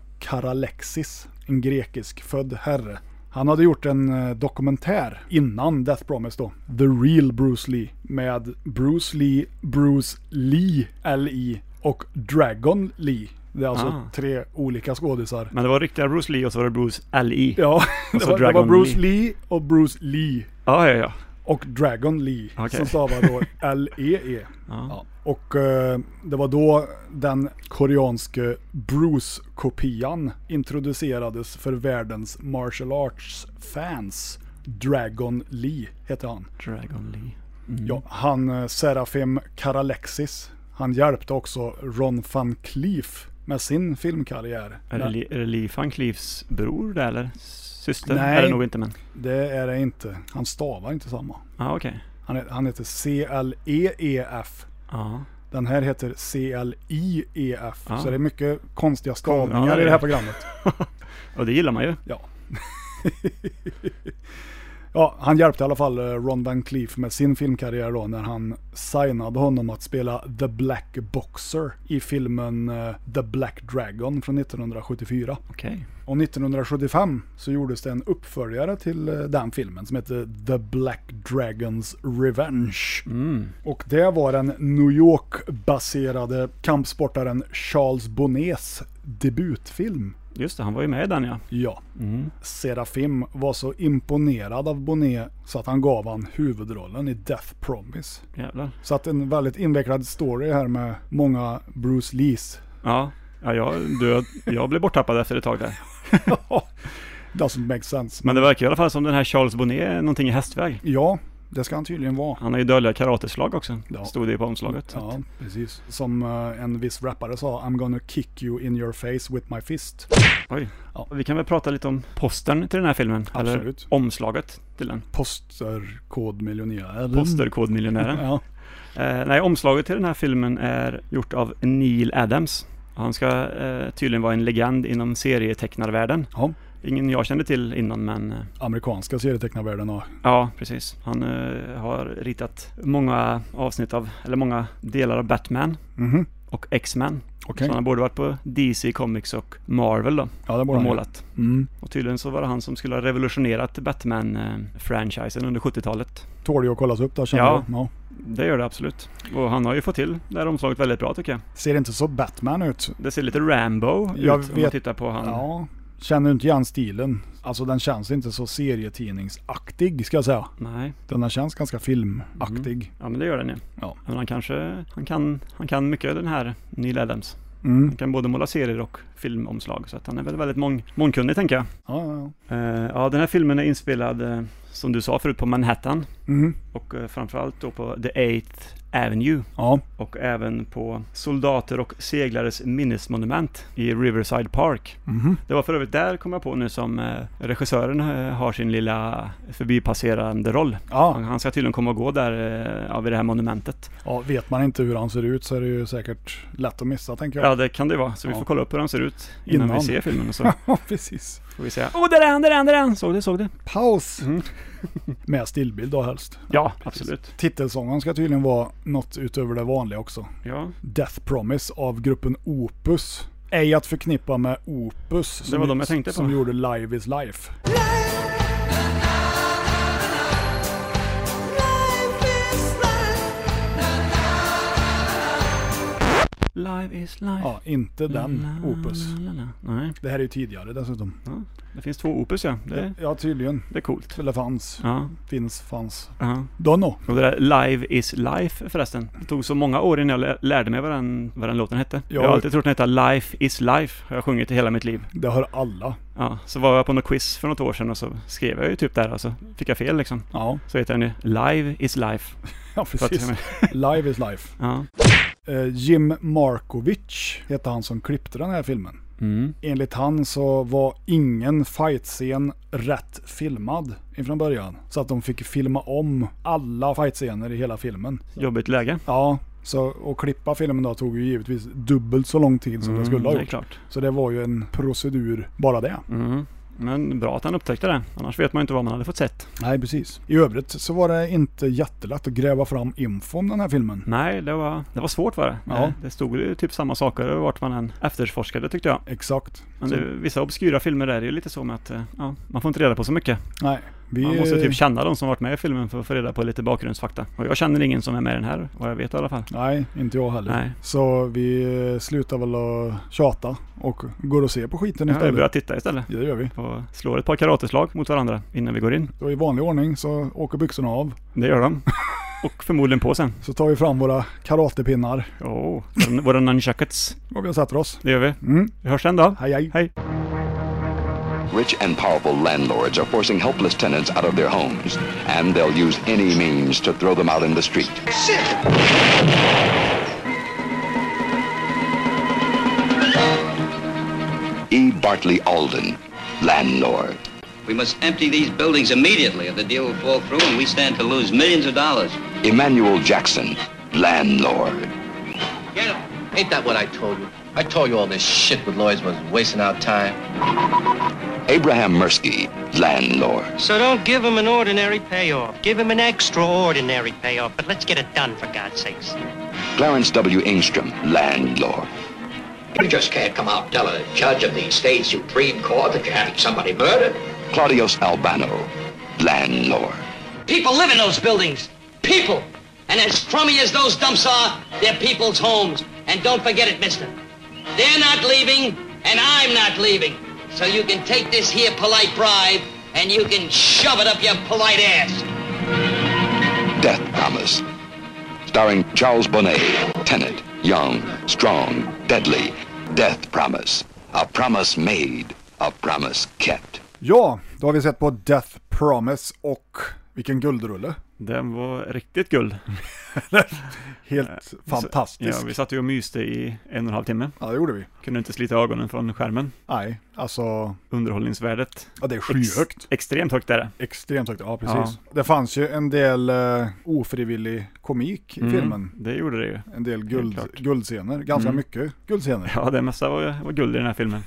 B: Karalexis, en grekisk född herre. Han hade gjort en eh, dokumentär innan Death Promise då, The Real Bruce Lee, med Bruce Lee, Bruce Lee, L-I, och Dragon Lee. Det är alltså
C: Ah.
B: tre olika skådisar.
C: Men det var riktiga Bruce Lee och så var det Bruce E. L.E.
B: Ja, det
C: så
B: var, det var
C: Dragon
B: Bruce Lee. och Bruce Lee
C: Ja, ja, ja.
B: och Dragon Lee
C: Okej.
B: som stavar då E L-E-E.
C: Ja.
B: Och eh, det var då den koreanske Bruce-kopian introducerades för världens martial arts-fans. Dragon Lee heter han.
C: Dragon Lee.
B: Ja, han eh, Serafim Karalexis, han hjälpte också Ron van Cleef med sin filmkarriär.
C: Är det,
B: Men
C: Lee- är det Lee van Cleefs bror det eller? Syster?
B: Nej.
C: Är det nog inte men.
B: det är det inte. Han stavar inte samma.
C: Ja, okej.
B: Han, he- han heter C-L-E-E-F.
C: Ja.
B: E Den här heter C-L-I-E-F.
C: Ah.
B: E Så det är mycket konstiga
C: Ja,
B: stavningar
C: det
B: i
C: är
B: det här
C: det.
B: programmet.
C: Och det gillar man ju.
B: Ja. ja, han hjälpte i alla fall eh, Ron Van Cleef med sin filmkarriär då när han signade honom att spela The Black Boxer i filmen eh, The Black Dragon från 1974.
C: Okej.
B: Och 1975 så gjordes det en uppföljare till eh, den filmen som hette The Black Dragons Revenge. Och det var den New York-baserade kampsportaren Charles Bonnets debutfilm.
C: Just det, han var ju med i den ja.
B: Ja.
C: Mm.
B: Serafim var så imponerad av Bonnet så att han gav han huvudrollen i Death Promise.
C: Jävlar.
B: Så att en väldigt invecklad story här med många Bruce Lees.
C: Ja. Ja, jag, du, jag blev borttappad efter ett tag där.
B: Doesn't make sense.
C: Men det verkar i alla fall som den här Charles Bonnet är någonting i hästväg.
B: Ja, det ska han tydligen vara.
C: Han har ju dödliga karateslag också.
B: Ja.
C: Stod det ju på omslaget. Så
B: Ja, precis. Som eh, en viss rappare sa, I'm gonna kick you in your face with my fist.
C: att- Oj.
B: Ja.
C: Vi kan väl prata lite om postern till den här filmen.
B: Absolut. Mm.
C: Eller omslaget till den.
B: Posterkodmiljonär.
C: Posterkodmiljonären.
B: Ja,
C: Eh, nej, omslaget till den här filmen är gjort av Neil Adams. Han ska eh, tydligen vara en legend inom serietecknarvärlden.
B: ja.
C: Ingen jag kände till innan men eh,
B: Amerikanska serietecknarvärlden och
C: ja, precis. Han eh, har ritat många avsnitt av, eller många delar av Batman
B: Mhm.
C: och X-Men.
B: Okej.
C: Så han borde varit på DC Comics och Marvel då
B: Ja, det borde
C: och
B: han.
C: målat.
B: Mm.
C: Och tydligen så var det han som skulle ha revolutionerat Batman-franchisen under 70-talet.
B: Tål ju att kollas upp där känner
C: Ja.
B: jag. Ja.
C: Det gör det absolut. Och han har ju fått till det här omslaget väldigt bra tycker jag.
B: Ser inte så Batman ut.
C: Det ser lite Rambo
B: Jag
C: ut om man
B: vet-
C: tittar på han.
B: Ja. Känner inte igen stilen. Alltså den känns inte så serietidningsaktig ska jag säga.
C: Nej,
B: Den här känns ganska filmaktig.
C: ja men det gör den ju.
B: Ja.
C: Men han kanske, han kan, han kan mycket den här Neil Adams.
B: Mm.
C: Han kan både måla serier och filmomslag så att han är väl väldigt mång, mångkunnig tänker jag.
B: Ja, ja, ja.
C: Eh, ja, den här filmen är inspelad eh, som du sa förut på Manhattan
B: Mm.
C: och eh, framförallt då på The Eighth Avenue
B: ja.
C: och även på soldater och seglares minnesmonument i Riverside Park.
B: Mhm.
C: Det var för övrigt där kom jag på nu som eh, regissören eh, har sin lilla förbipasserande roll. Han,
B: Ja.
C: han ska tydligen komma och gå där eh, ja, vid det här monumentet.
B: ja, vet man inte hur han ser ut så är det ju säkert lätt att missa tänker jag.
C: Ja, det kan det vara. Så vi
B: Ja.
C: får kolla upp hur han ser ut innan,
B: Innan.
C: vi ser filmen. Och så
B: Ja, precis.
C: får vi säga Åh, oh, där är han, där är han, där är han! Såg du, såg du?
B: Paus! Med stillbild då helst.
C: Ja, absolut.
B: Titelsången ska tydligen vara något utöver det vanliga också.
C: Ja,
B: Death Promise av gruppen Opus. Ej att förknippa med Opus som,
C: var de jag tänkte på.
B: som gjorde Live is Life.
C: Live is life.
B: Ja, inte den opus.
C: La, la, la, la. Nej,
B: Det här är ju tidigare dessutom.
C: det finns två opus ja. Det,
B: Ja, tydligen.
C: det är coolt.
B: Eller fanns.
C: Ja,
B: Finns, fanns.
C: ja.
B: Donno.
C: Och det där Live is Life förresten. Det tog så många år innan jag lä- lärde mig vad den, vad den låten hette.
B: Ja.
C: Jag har alltid trott den hette Life is Life. Har jag sjungit i hela mitt liv.
B: Det hör alla.
C: Ja, så var jag på något quiz för något år sedan och så skrev jag ju typ där och så fick jag fel liksom.
B: Ja,
C: Så heter den ju Live is Life.
B: ja
C: För att-
B: precis. Live is life.
C: ja.
B: Eh, Jim Markovic hette han som klippte den här filmen.
C: Mm.
B: Enligt han så var ingen fightscen rätt filmad ifrån början. Så att de fick filma om alla fightscener i hela filmen.
C: Jobbigt läge.
B: Ja, så att klippa filmen då tog ju givetvis dubbelt så lång tid som det skulle
C: det
B: ha
C: är
B: gjort.
C: Mm, klart.
B: Så det var ju en procedur bara det.
C: Mm. Men bra att han upptäckte det. Annars vet man ju inte vad man hade fått sett.
B: Nej, precis. I övrigt så var det inte jättelätt att gräva fram info om den här filmen.
C: Nej, det var, det var svårt var det.
B: Ja.
C: Det, det stod ju typ samma saker vart man än efterforskade tyckte jag.
B: Exakt.
C: Men det,
B: Mm.
C: vissa obskyra filmer där är ju lite så med att eh, ja, man får inte reda på så mycket.
B: Nej, vi...
C: Man måste typ känna de som varit med i filmen för att få reda på lite bakgrundsfakta. Och jag känner ingen som är med i den här, vad jag vet i alla fall.
B: Nej, inte jag heller.
C: Nej.
B: Så vi eh, slutar väl att tjata och går och ser på skiten
C: Ja, vi
B: istället.
C: börjar titta istället.
B: Ja, det gör vi.
C: Och slår ett par karateslag mot varandra innan vi går in.
B: Så i vanlig ordning så åker byxorna av.
C: Det gör de. Och förmodligen på sen.
B: Så tar vi fram våra karatepinnar
C: Oh, våra- våra nunchuckets.
B: och vi sätter oss.
C: Det gör vi.
B: Mm.
C: Vi hörs sen då.
B: Hej, hej.
C: Hej.
E: Rich and powerful landlords are forcing helpless tenants out of their homes, and they'll use any means to throw them out in the street. E. Bartley Alden, landlord.
F: We must empty these buildings immediately or the deal will fall through and we stand to lose millions of dollars.
E: Emmanuel Jackson, landlord.
F: Get them. Ain't that what I told you? I told you all this shit with lawyers was wasting our time.
E: Abraham Mirsky, landlord.
G: So don't give him an ordinary payoff. Give him an extraordinary payoff. But let's get it done, for God's sakes.
E: Clarence W. Ingstrom, landlord.
H: You just can't come out and tell a judge of the state Supreme Court that you're having somebody murdered.
E: Claudius Albano, landlord.
F: People live in those buildings. People. And as crummy as those dumps are, they're people's homes. And don't forget it, mister. They're not leaving and I'm not leaving. So you can take this here polite bribe and you can shove it up your polite ass.
E: Death Promise. Starring Charles Bonnet, Tennant, Young, Strong, Deadly. Death Promise. A promise made, a promise kept.
B: Ja, då har vi sett på Death Promise och vilken guldrulle.
C: Den var riktigt guld.
B: Helt fantastisk.
C: Eh, Ja, vi satt ju och myste i en och en halv timme.
B: Ja, det gjorde vi.
C: Kunde inte slita ögonen från skärmen.
B: Nej, alltså
C: Underhållningsvärdet.
B: ja, det är
C: Ex-
B: skyhögt.
C: extremt högt är det.
B: Extremt högt, ja precis. Det fanns ju en del eh, ofrivillig komik i filmen.
C: Det gjorde det ju.
B: En del
C: Mm. klart. Mm.
B: guld, guldscener, ganska mycket guldscener.
C: Ja, det mesta var, var guld i den här filmen.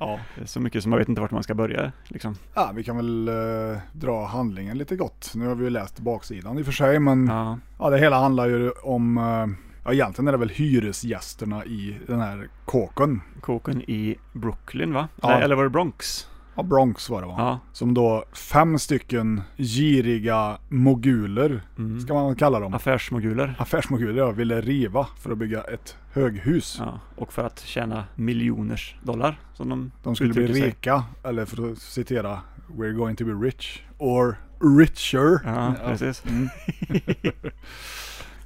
B: Ja.
C: Det är Så mycket som man vet inte vart man ska börja liksom.
B: Ja, vi kan väl eh, dra handlingen lite gott. Nu har vi ju läst baksidan i och för sig, men ja.
C: Ja,
B: det hela handlar ju om, eh, ja egentligen är det väl hyresgästerna i den här kåken.
C: kåken i Brooklyn va?
B: Ja.
C: Nej, eller var det Bronx?
B: Ja, Bronx var det va?
C: Ja.
B: Som då fem stycken giriga moguler,
C: Mm.
B: ska man kalla dem.
C: Affärsmoguler.
B: Affärsmoguler ja, ville riva för att bygga ett höghus.
C: Ja, och för att tjäna miljoners dollar som de,
B: De skulle bli
C: uttrycker sig.
B: rika, eller för att citera We're going to be rich, or richer.
C: Ja, precis.
B: Mm.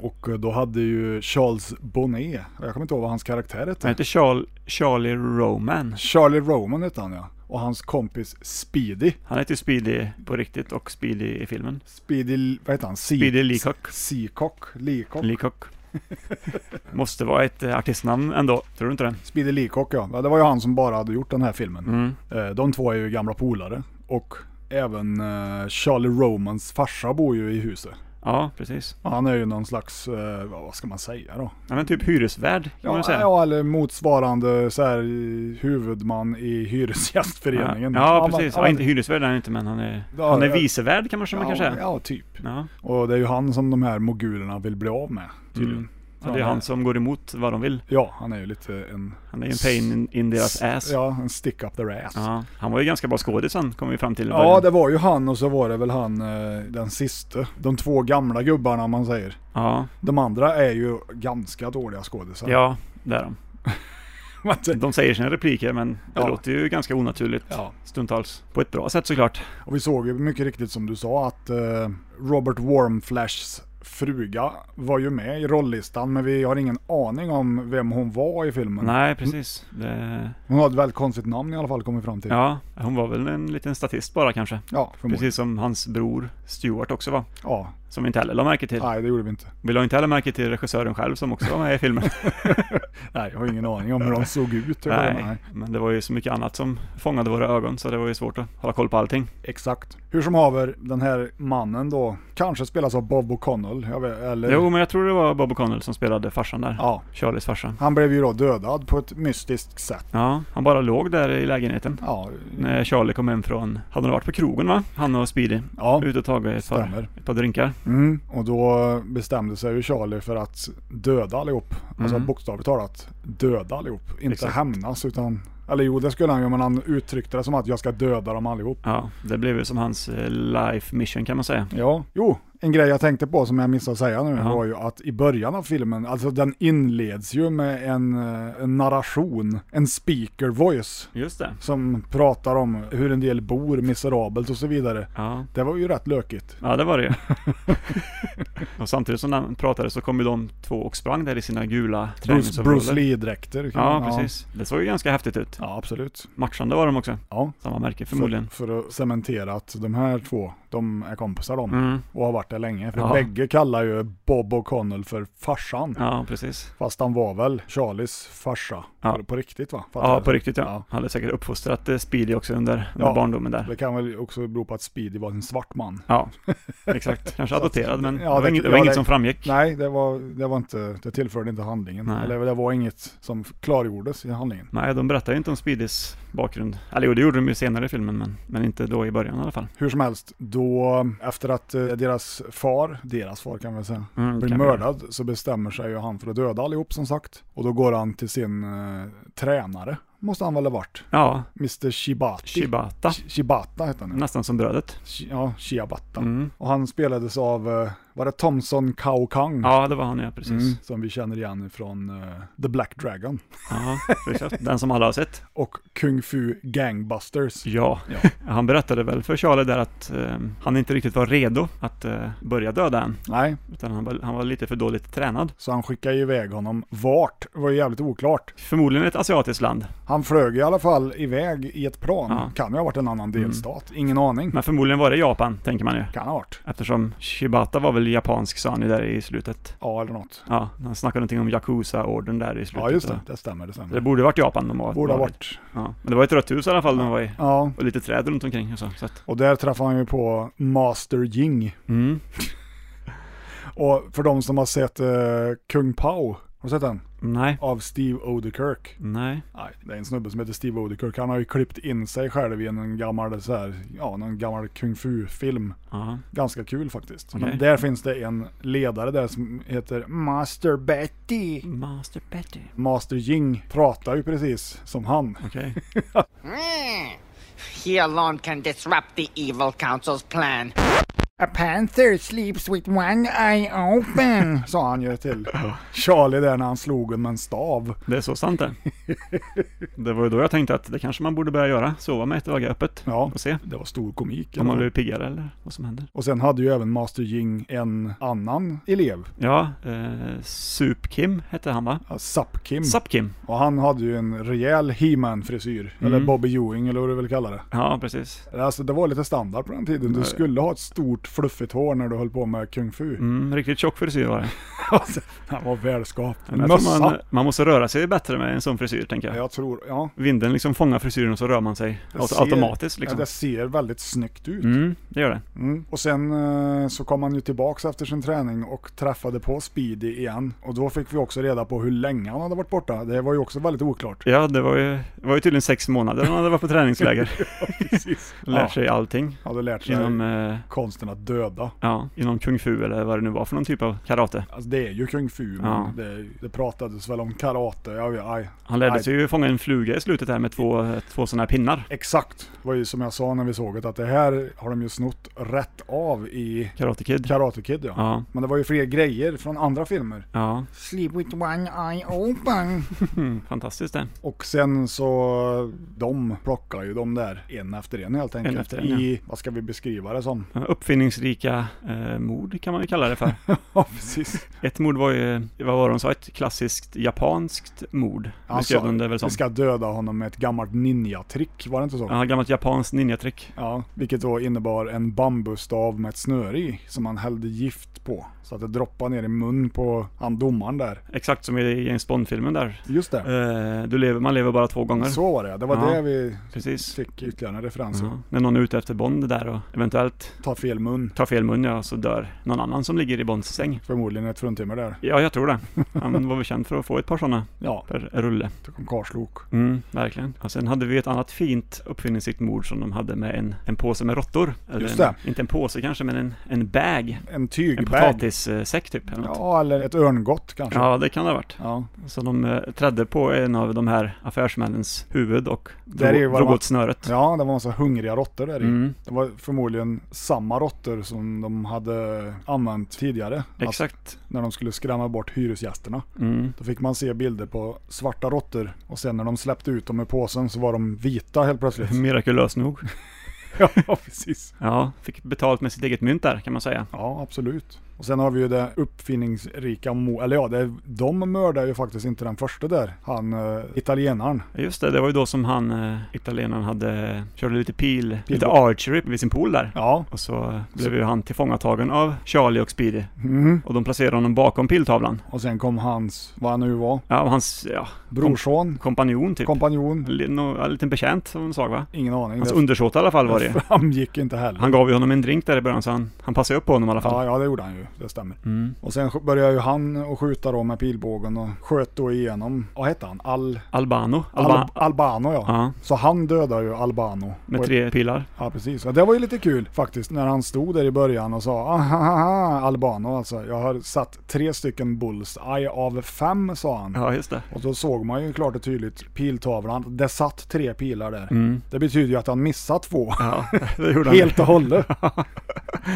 B: Och eh, då hade ju Charles Bonnet, jag kommer inte ihåg vad hans karaktär
C: Han
B: hette.
C: heter Charl, Charlie Roman.
B: Charlie Roman hette han ja. Och hans kompis Speedy.
C: Han heter ju Speedy på riktigt och Speedy i filmen.
B: Speedy, vad heter han? Se-
C: Speedy Leacock.
B: Seacock? Leacock?
C: Leacock. Måste vara ett eh, artistnamn ändå, tror du inte det?
B: Speedy Leacock ja. ja. Det var ju han som bara hade gjort den här filmen. Eh, De två är ju gamla polare. Och även eh, Charlie Romans farsa bor ju i huset.
C: Ja, precis.
B: Han är ju någon slags, eh, vad ska man säga då?
C: Han är typ hyresvärd, kan man
B: Ja,
C: väl säga.
B: ja, eller motsvarande så här, eh, huvudman i Hyresgästföreningen.
C: Ja,
B: man-
C: precis. Ja, inte hyresvärd är han inte, men han är,
B: Ja,
C: han är
B: ja.
C: vicevärd kan man, ja, man
B: ja,
C: kanske säga.
B: ja, typ.
C: Ja. Mm.
B: Och det är ju han som de här mogulerna vill bli av med, tydligen.
C: Ja, det är han som går emot vad de vill.
B: Ja, han är ju lite en...
C: Han är ju en pain in, in deras ass.
B: Ja, en stick up their ass.
C: Ja, han var ju ganska bra skådis han, kom vi fram till. i
B: Ja,
C: början.
B: det var ju han och så var det väl han eh, den siste. De två gamla gubbarna om man säger.
C: ja,
B: De andra är ju ganska dåliga skådisar.
C: ja, det är de.
B: Man säger-
C: De säger sina repliker, men det
B: Ja.
C: låter ju ganska onaturligt
B: Ja.
C: stundtals. På ett bra sätt såklart.
B: och vi såg ju mycket riktigt som du sa att eh, Robert Warmflashs fruga var ju med i rolllistan men vi har ingen aning om vem hon var i filmen.
C: Nej, precis. Det,
B: Hon har ett väldigt konstigt namn i alla fall kommer vi fram till.
C: ja, hon var väl en liten statist bara kanske.
B: ja förmodligen.
C: Precis som hans bror Stuart också var.
B: Ja,
C: Som vi inte heller la märke till.
B: nej det gjorde vi inte.
C: Vi la inte heller märke till regissören själv som också var med i filmen.
B: Nej, jag har ingen aning om hur de såg ut. eller vad de-
C: Nej, men det var ju så mycket annat som fångade våra ögon så det var ju svårt att hålla koll på allting.
B: Exakt. Hur som haver, den här mannen då, kanske spelas av Bob O'Connell, jag vet, eller?
C: Jo, men jag tror det var Bob O'Connell som spelade farsan där.
B: Ja.
C: Charlies farsa.
B: Han blev ju då dödad på ett mystiskt sätt.
C: Ja, han bara låg där i lägenheten.
B: Ja,
C: När Charlie kom hem från, hade han varit på krogen va? Han och Speedy.
B: Ja,
C: Ut och tagit ett par,
B: stämmer.
C: ett par drinkar.
B: mm. och då bestämde sig ju Charlie för att döda allihop. Alltså bokstavligt talat döda allihop. Inte
C: Mm. Exakt.
B: hämnas utan, eller jo det skulle han ju men han uttryckte det som att jag ska döda dem allihop.
C: Ja, det blev ju som hans eh, life mission kan man säga.
B: Ja, jo. En grej jag tänkte på som jag missade att säga nu
C: Ja.
B: var ju att i början av filmen, alltså den inleds ju med en, eh, en narration, en speaker voice.
C: Just det.
B: som pratar om hur en del bor miserabelt och så vidare.
C: Ja,
B: Det var ju rätt lökigt.
C: ja det var det ju. och samtidigt som han pratade så kom ju de två och sprang där i sina gula
B: Bruce,
C: träningsoveraller.
B: Bruce Lee-dräkter. kan
C: Ja,
B: man-
C: precis. Det såg ju ganska häftigt ut.
B: Ja, absolut.
C: Matchande var de också.
B: Ja.
C: Samma märke förmodligen.
B: För, för att cementera att de här två, de är kompisar de.
C: Mm.
B: Och har varit det länge. För
C: Ja.
B: bägge kallar ju Bob O'Connell för farsan.
C: Ja, precis.
B: Fast han var väl Charlies farsa.
C: Ja.
B: På, på riktigt va? Fattar
C: Ja,
B: jag?
C: på riktigt ja.
B: Ja.
C: Han hade säkert uppfostrat eh, Speedy också under, under
B: Ja.
C: barndomen där.
B: Det kan väl också bero på att Speedy var en svart man.
C: Ja, exakt. Kanske adopterad, men
B: Ja,
C: det var
B: det-
C: inget, det var
B: ja,
C: inget
B: det-
C: som framgick.
B: Nej, det, var, det, var inte, det tillförde inte handlingen.
C: Nej.
B: Eller det var inget som klargjordes i handlingen.
C: Nej, de berättar ju inte om Speedys bakgrund. Eller jo, det gjorde de ju senare i filmen, men, men inte då i början i alla fall.
B: Hur som helst, då efter att eh, deras far, deras far kan man väl säga,
C: Mm,
B: blir
C: kan vi-
B: mördad så bestämmer sig ju han för att döda allihop som sagt. Och då går han till sin eh, tränare, måste han väl ha varit.
C: Ja,
B: Mr Shibati.
C: Shibata.
B: Sh- Shibata heter han. ja.
C: Nästan som brödet.
B: Shi- Ja, Shiabata.
C: Mm.
B: Och han spelades av, eh, var det Thomson Kao Kang?
C: Ja, det var han ja, precis.
B: Mm, som vi känner igen från eh, The Black Dragon.
C: Ja, precis. Den som alla har sett.
B: Och Kung Fu Gangbusters.
C: Ja. Han berättade väl för Charlie där att eh, han inte riktigt var redo att eh, börja döda än.
B: Nej,
C: Utan han var, han var lite för dåligt tränad.
B: så han skickar ju iväg honom. Vart? Det var ju jävligt oklart.
C: Förmodligen ett asiatiskt land.
B: Han flög i alla fall iväg i ett plan.
C: Ja. Mm.
B: Kan ju ha varit en annan delstat. Ingen aning.
C: Men förmodligen var det Japan, tänker man ju.
B: Kan ha varit.
C: Eftersom Shibata var väl japansk sa han ju där i slutet.
B: Ja, eller något.
C: Ja, han snackade någonting om Yakuza-orden där i slutet.
B: Ja, just det. Det stämmer. Det stämmer.
C: Det borde varit Japan de var.
B: borde ha varit.
C: Ja. Men det var ett rött hus i alla fall de var i.
B: Ja,
C: Och lite träd runt omkring och så. så att,
B: och där träffar han ju på Master Jing.
C: mm.
B: Och för de som har sett eh, Kung Pao, har du sett den?
C: Nej.
B: Av Steve Odekirk.
C: Nej.
B: Nej, det är en snubbe som heter Steve Odekirk. Han har ju klippt in sig själv i en gammal, så här, ja, någon gammal kung fu-film.
C: Ja.
B: Ganska kul faktiskt.
C: Okej.
B: Men där finns det en ledare där som heter Master Betty.
C: Master Betty.
B: Master Jing pratar ju precis som han.
C: Okej.
I: He Mm. alone can disrupt the evil council's plan.
J: A panther sleeps with one eye open.
B: Sa han ju till Charlie där när han slog honom med en stav.
C: Det är så sant det. Det var ju då jag tänkte att det kanske man borde börja göra. Sova med ett öga öppet.
B: Ja,
C: Och se.
B: det var stor komik.
C: Om man
B: eller?
C: blir piggare eller vad som händer.
B: Och sen hade ju även Master Jing en annan elev,
C: Ja, eh, Sup-Kim hette han va?
B: ja, Sap Kim.
C: Sup-Kim.
B: Och han hade ju en rejäl He-Man-frisyr.
C: Mm.
B: Eller Bobby Ewing eller vad du vill kalla det.
C: Ja, precis.
B: Alltså det var lite standard på den tiden. Du skulle ha ett stort fluffigt hår när du höll på med kung fu.
C: Mm, riktigt tjock frisyr var det.
B: Alltså, han var välskapt.
C: Men jag tror
B: Mössa!
C: Man, man måste röra sig bättre med en sån frisyr, tänker jag.
B: Jag tror, ja.
C: Vinden liksom fångar frisyren och så rör man sig
B: det
C: auto-
B: ser-
C: automatiskt liksom.
B: Ja, det ser väldigt snyggt ut.
C: Mm, det gör det.
B: Mm. Och sen eh, så kom han ju tillbaks efter sin träning och träffade på Speedy igen. Och då fick vi också reda på hur länge han hade varit borta. Det var ju också väldigt oklart.
C: Ja, det var ju, det var ju tydligen sex månader han hade varit på träningsläger.
B: Precis.
C: Lär
B: ja,
C: sig allting
B: hade lärt sig
C: inom eh,
B: konsten att att döda.
C: Ja, inom kung fu eller vad det nu var för någon typ av karate.
B: Alltså det är ju kung fu, men
C: Ja.
B: det, det pratades väl om karate. Jag vet, aj,
C: Han lärde
B: aj.
C: sig ju fånga en fluga i slutet här med två, två sådana här pinnar.
B: Exakt, var ju som jag sa när vi såg det, att det här har de ju snott rätt av i
C: Karate Kid.
B: Karate Kid. Ja.
C: Ja.
B: Men det var ju fler grejer från andra filmer.
C: Ja,
J: Sleep with one eye open.
C: mm, fantastiskt det.
B: Och sen så, de plockar ju dem där en efter en helt enkelt.
C: efter en,
B: I, vad ska vi beskriva det som?
C: Ja, Uppfinningsrika eh, mord kan man ju kalla det för.
B: Ja, precis.
C: Ett mord var ju, vad var det de sa, ett klassiskt japanskt mord.
B: Han
C: Beskrev
B: sa,
C: de det väl
B: Alltså,
C: som.
B: Vi ska döda honom med ett gammalt ninjatrick, var det inte så?
C: Ja, gammalt japanskt ninjatrick.
B: Ja, vilket då innebar en bambustav med ett snöre i som han hällde gift på. Så att det droppade ner i mun på han domaren där.
C: Exakt som i James Bond-filmen där.
B: Just det.
C: Eh, du lever, man lever bara två gånger.
B: Eh, Så var det, det var
C: Ja.
B: det vi
C: Precis.
B: fick ytterligare en referens.
C: Ja. När någon är ute efter Bond där och eventuellt
B: Ta fel mun,
C: tar fel mun ja, så dör någon annan som ligger i Bonds säng.
B: förmodligen ett fruntimmer där.
C: Ja, jag tror det. Han var väl känd för att få ett par sådana
B: Ja,
C: per rulle.
B: det kom karlslok.
C: Mm, verkligen. Och sen hade vi ett annat fint uppfinningsrikt mord som de hade med en, en påse med råttor. Eller
B: Just
C: en,
B: det.
C: inte en påse kanske, men en, en bag.
B: En
C: En
B: tygbag.
C: potatissäck typ. Eller något.
B: Ja, eller ett örngott kanske.
C: Ja, det kan det ha varit.
B: Ja.
C: Så de eh, trädde på en av de här affärsmännens huvud och
B: Där är ju
C: drog,
B: vad
C: drog
B: de-
C: åt snöret.
B: Ja, det var en massa hungriga råttor där i.
C: Mm.
B: Det var förmodligen samma råttor som de hade använt tidigare. Alltså,
C: Exakt.
B: när de skulle skrämma bort hyresgästerna.
C: Mm.
B: Då fick man se bilder på svarta råttor och sen när de släppte ut dem ur påsen så var de vita helt plötsligt.
C: Mirakulöst nog.
B: ja, precis.
C: Ja, fick betalt med sitt eget mynt där kan man säga.
B: Ja, absolut. Och sen har vi ju det uppfinningsrika, mo- eller ja, det, de mördar ju faktiskt inte den första där. Han, eh, italienaren.
C: Just det, det var ju då som han, eh, italienaren, hade, eh, körde lite pil, lite
B: Pilbåge.
C: archery vid sin pool där.
B: Ja,
C: Och så eh, blev ju han tillfångatagen av Charlie och Speedy.
B: mm.
C: Och de placerade honom bakom piltavlan.
B: och sen kom hans, vad han nu var,
C: Ja, och hans ja,
B: brorson,
C: kompanjon typ.
B: kompanjon.
C: Li- nå- ja, En liten betjänt som de sa va?
B: Ingen aning.
C: Hans
B: Det
C: undersåte i alla fall var det ju.
B: framgick inte heller.
C: Han gav ju honom en drink där i början så han, han passade upp på honom i alla
B: Ja,
C: fall.
B: ja, det gjorde han ju. Det stämmer.
C: Mm.
B: Och sen sk- började ju han att skjuta då med pilbågen och sköt då igenom, vad hette han? Al...
C: Albano. Alba
B: Alba- Albano ja.
C: Ja,
B: Så han dödar ju Albano.
C: med
B: Och-
C: tre pilar.
B: Ja, precis. Ja, det var ju lite kul faktiskt när han stod där i början och sa "Ah, "Ahahaha, Albano alltså. Jag har satt tre stycken bullseye av fem, sa han.
C: Ja, just det.
B: Och då såg man ju klart och tydligt piltavlan. Det satt tre pilar där. Det betyder ju att han missat två.
C: Mm. Ja, det gjorde han.
B: Helt och hållet.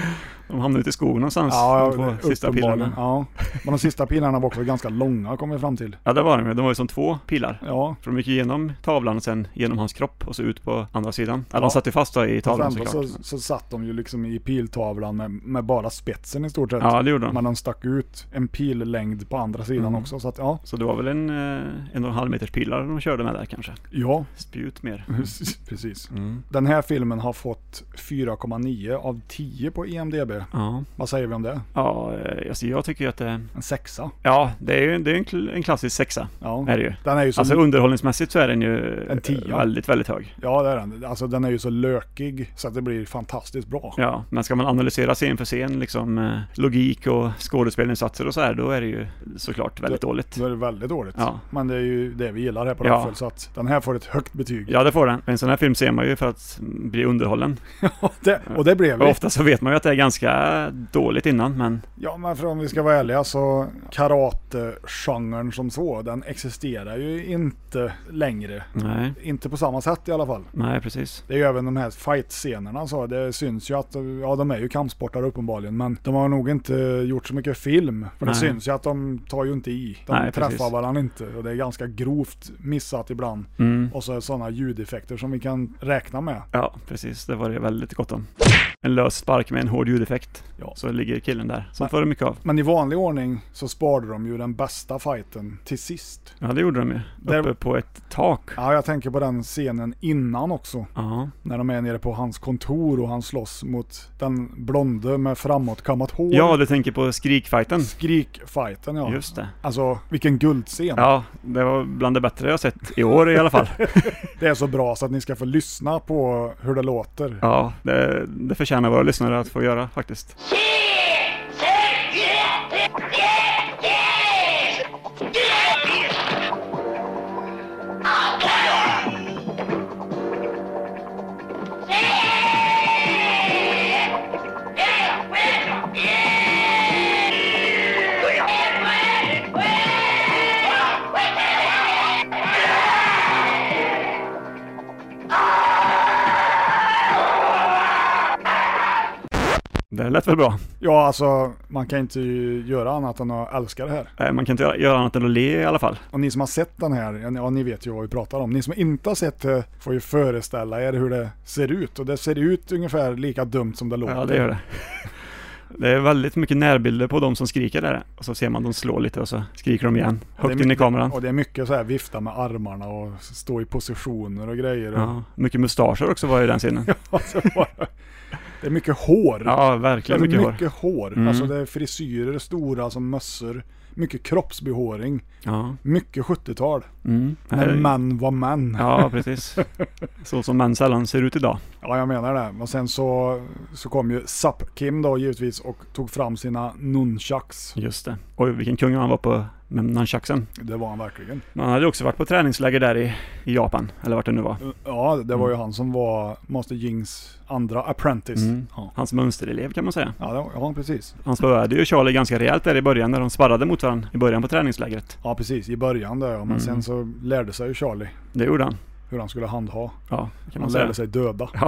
C: De hamnade ute i skogen någonstans, de två sista
B: uppenbarligen.
C: pilarna. Ja.
B: Ja. Men de sista pilarna var också ganska långa kom vi fram till.
C: det var de ju. De var ju som två pilar.
B: Ja,
C: För de gick igenom tavlan och sen genom hans kropp och så ut på andra sidan. Ja,
B: Ja.
C: de satt ju fast då i
B: och
C: tavlan
B: sen
C: såklart.
B: så, så satt de ju liksom i piltavlan med, med bara spetsen i stort sett.
C: Ja, det gjorde de. Mm.
B: Men de stack ut en pillängd på andra sidan också. Så att, ja,
C: Så det var väl en, eh, en och en halv meters pilar de körde med där kanske.
B: ja
C: Spjut mer.
B: Mm. precis. Den här filmen har fått 4,9 av 10 på E EMDB.
C: Ja,
B: Vad säger vi om det?
C: ja eh, alltså jag tycker ju att det...
B: En sexa.
C: Ja, det är ju det är en, kl- en klassisk sexa.
B: Ja.
C: Är det ju.
B: Den är ju så,
C: Alltså underhållningsmässigt så är den ju
B: En tia.
C: väldigt, väldigt hög.
B: ja, det är den. Alltså, den är ju så lökig så att det blir fantastiskt bra.
C: Ja, men ska man analysera scen för scen, liksom eh, logik och skådespelinsatser och så här, då är det ju såklart väldigt dåligt.
B: Då är det väldigt dåligt.
C: Ja.
B: Men det är ju det vi gillar här på
C: Ja.
B: Raffel, så att den här får ett högt betyg.
C: Ja, det får den. En sån här film ser man ju för att bli underhållen.
B: Det, och det blev
C: Och
B: vi.
C: ofta så vet man ju att det är ganska dåligt innan, men
B: Ja, men för om vi ska vara ärliga så karategenren som så, den existerar ju inte längre.
C: nej,
B: Inte på samma sätt i alla fall.
C: nej precis.
B: Det är ju även de här fight-scenerna så. Det syns ju att, ja de är ju kampsportare uppenbarligen, men de har nog inte gjort så mycket film. För det
C: Nej.
B: syns ju att de tar ju inte i. De
C: Nej,
B: träffar
C: precis.
B: varandra inte och det är ganska grovt missat ibland.
C: Mm.
B: Och så är det sådana ljudeffekter som vi kan räkna med.
C: Ja, precis. Det var det väldigt gott om. En lös spark med en hård ljudeffekt.
B: Ja.
C: Så ligger killen där. Så
B: Nej.
C: får det mycket av.
B: Men i vanlig ordning så sparade de ju den bästa fighten till sist.
C: Ja, det gjorde de ju.
B: Där-
C: Uppe på ett tak.
B: Ja, jag tänker på den scenen innan också.
C: Ja,
B: När de är nere på hans kontor och han slåss mot den blonde med framåtkammat hår.
C: ja du tänker på skrikfighten.
B: Skrikfighten ja.
C: Just det.
B: Alltså vilken guldscen.
C: Ja, det var bland det bättre jag sett i år i alla fall.
B: Det är så bra så att ni ska få lyssna på hur det låter.
C: Ja, det, det förtjänar våra lyssnare att få göra faktiskt.
D: Yeah!
C: Det lät väl bra?
B: Ja, alltså man kan inte göra annat än att älska det här.
C: Eh, Man kan inte göra- göra annat än att le i alla fall.
B: Och ni som har sett den här, ja, ni- ja ni vet ju vad vi pratar om. Ni som inte har sett det får ju föreställa er hur det ser ut. Och det ser ut ungefär lika dumt som det låter.
C: Ja, det gör det. Det är väldigt mycket närbilder på de som skriker där. Och så ser man dem slå lite och så skriker de igen.
B: Och det är
C: Högt in i
B: mycket-
C: kameran.
B: Och det är mycket så här vifta med armarna och stå i positioner och grejer. Och
C: Ja, mycket mustascher också var i den scenen.
B: alltså, bara- det är mycket hår.
C: Ja, verkligen
B: Alltså,
C: mycket hår.
B: mycket hår.
C: Mm.
B: Alltså det är frisyrer stora som mössor. Mycket kroppsbehåring.
C: Ja.
B: Mycket 70-tal.
C: Mm.
B: När män var män.
C: Ja, precis. Så som män sällan ser ut idag.
B: Ja, jag menar det. Och sen så, så kom ju Sap Kim då givetvis och tog fram sina nunchucks.
C: Just det. Oj, vilken kung han var på med nunchaksen.
B: Det var han verkligen.
C: Man hade ju också varit på träningsläger där i, i Japan, eller vart det nu var.
B: Ja, det var ju han som var Master Jings andra apprentice.
C: Mm.
B: Ja.
C: Hans mönsterelev kan man säga.
B: Ja, det var, ja, precis.
C: Han spöade ju Charlie ganska rejält där i början när de sparrade mot varandra i början på träningslägret.
B: Ja, precis. I början där ja. Men
C: Mm.
B: sen så lärde sig ju Charlie
C: Det gjorde han.
B: hur han skulle handha.
C: Ja, kan man
B: Han
C: säga.
B: lärde sig döda.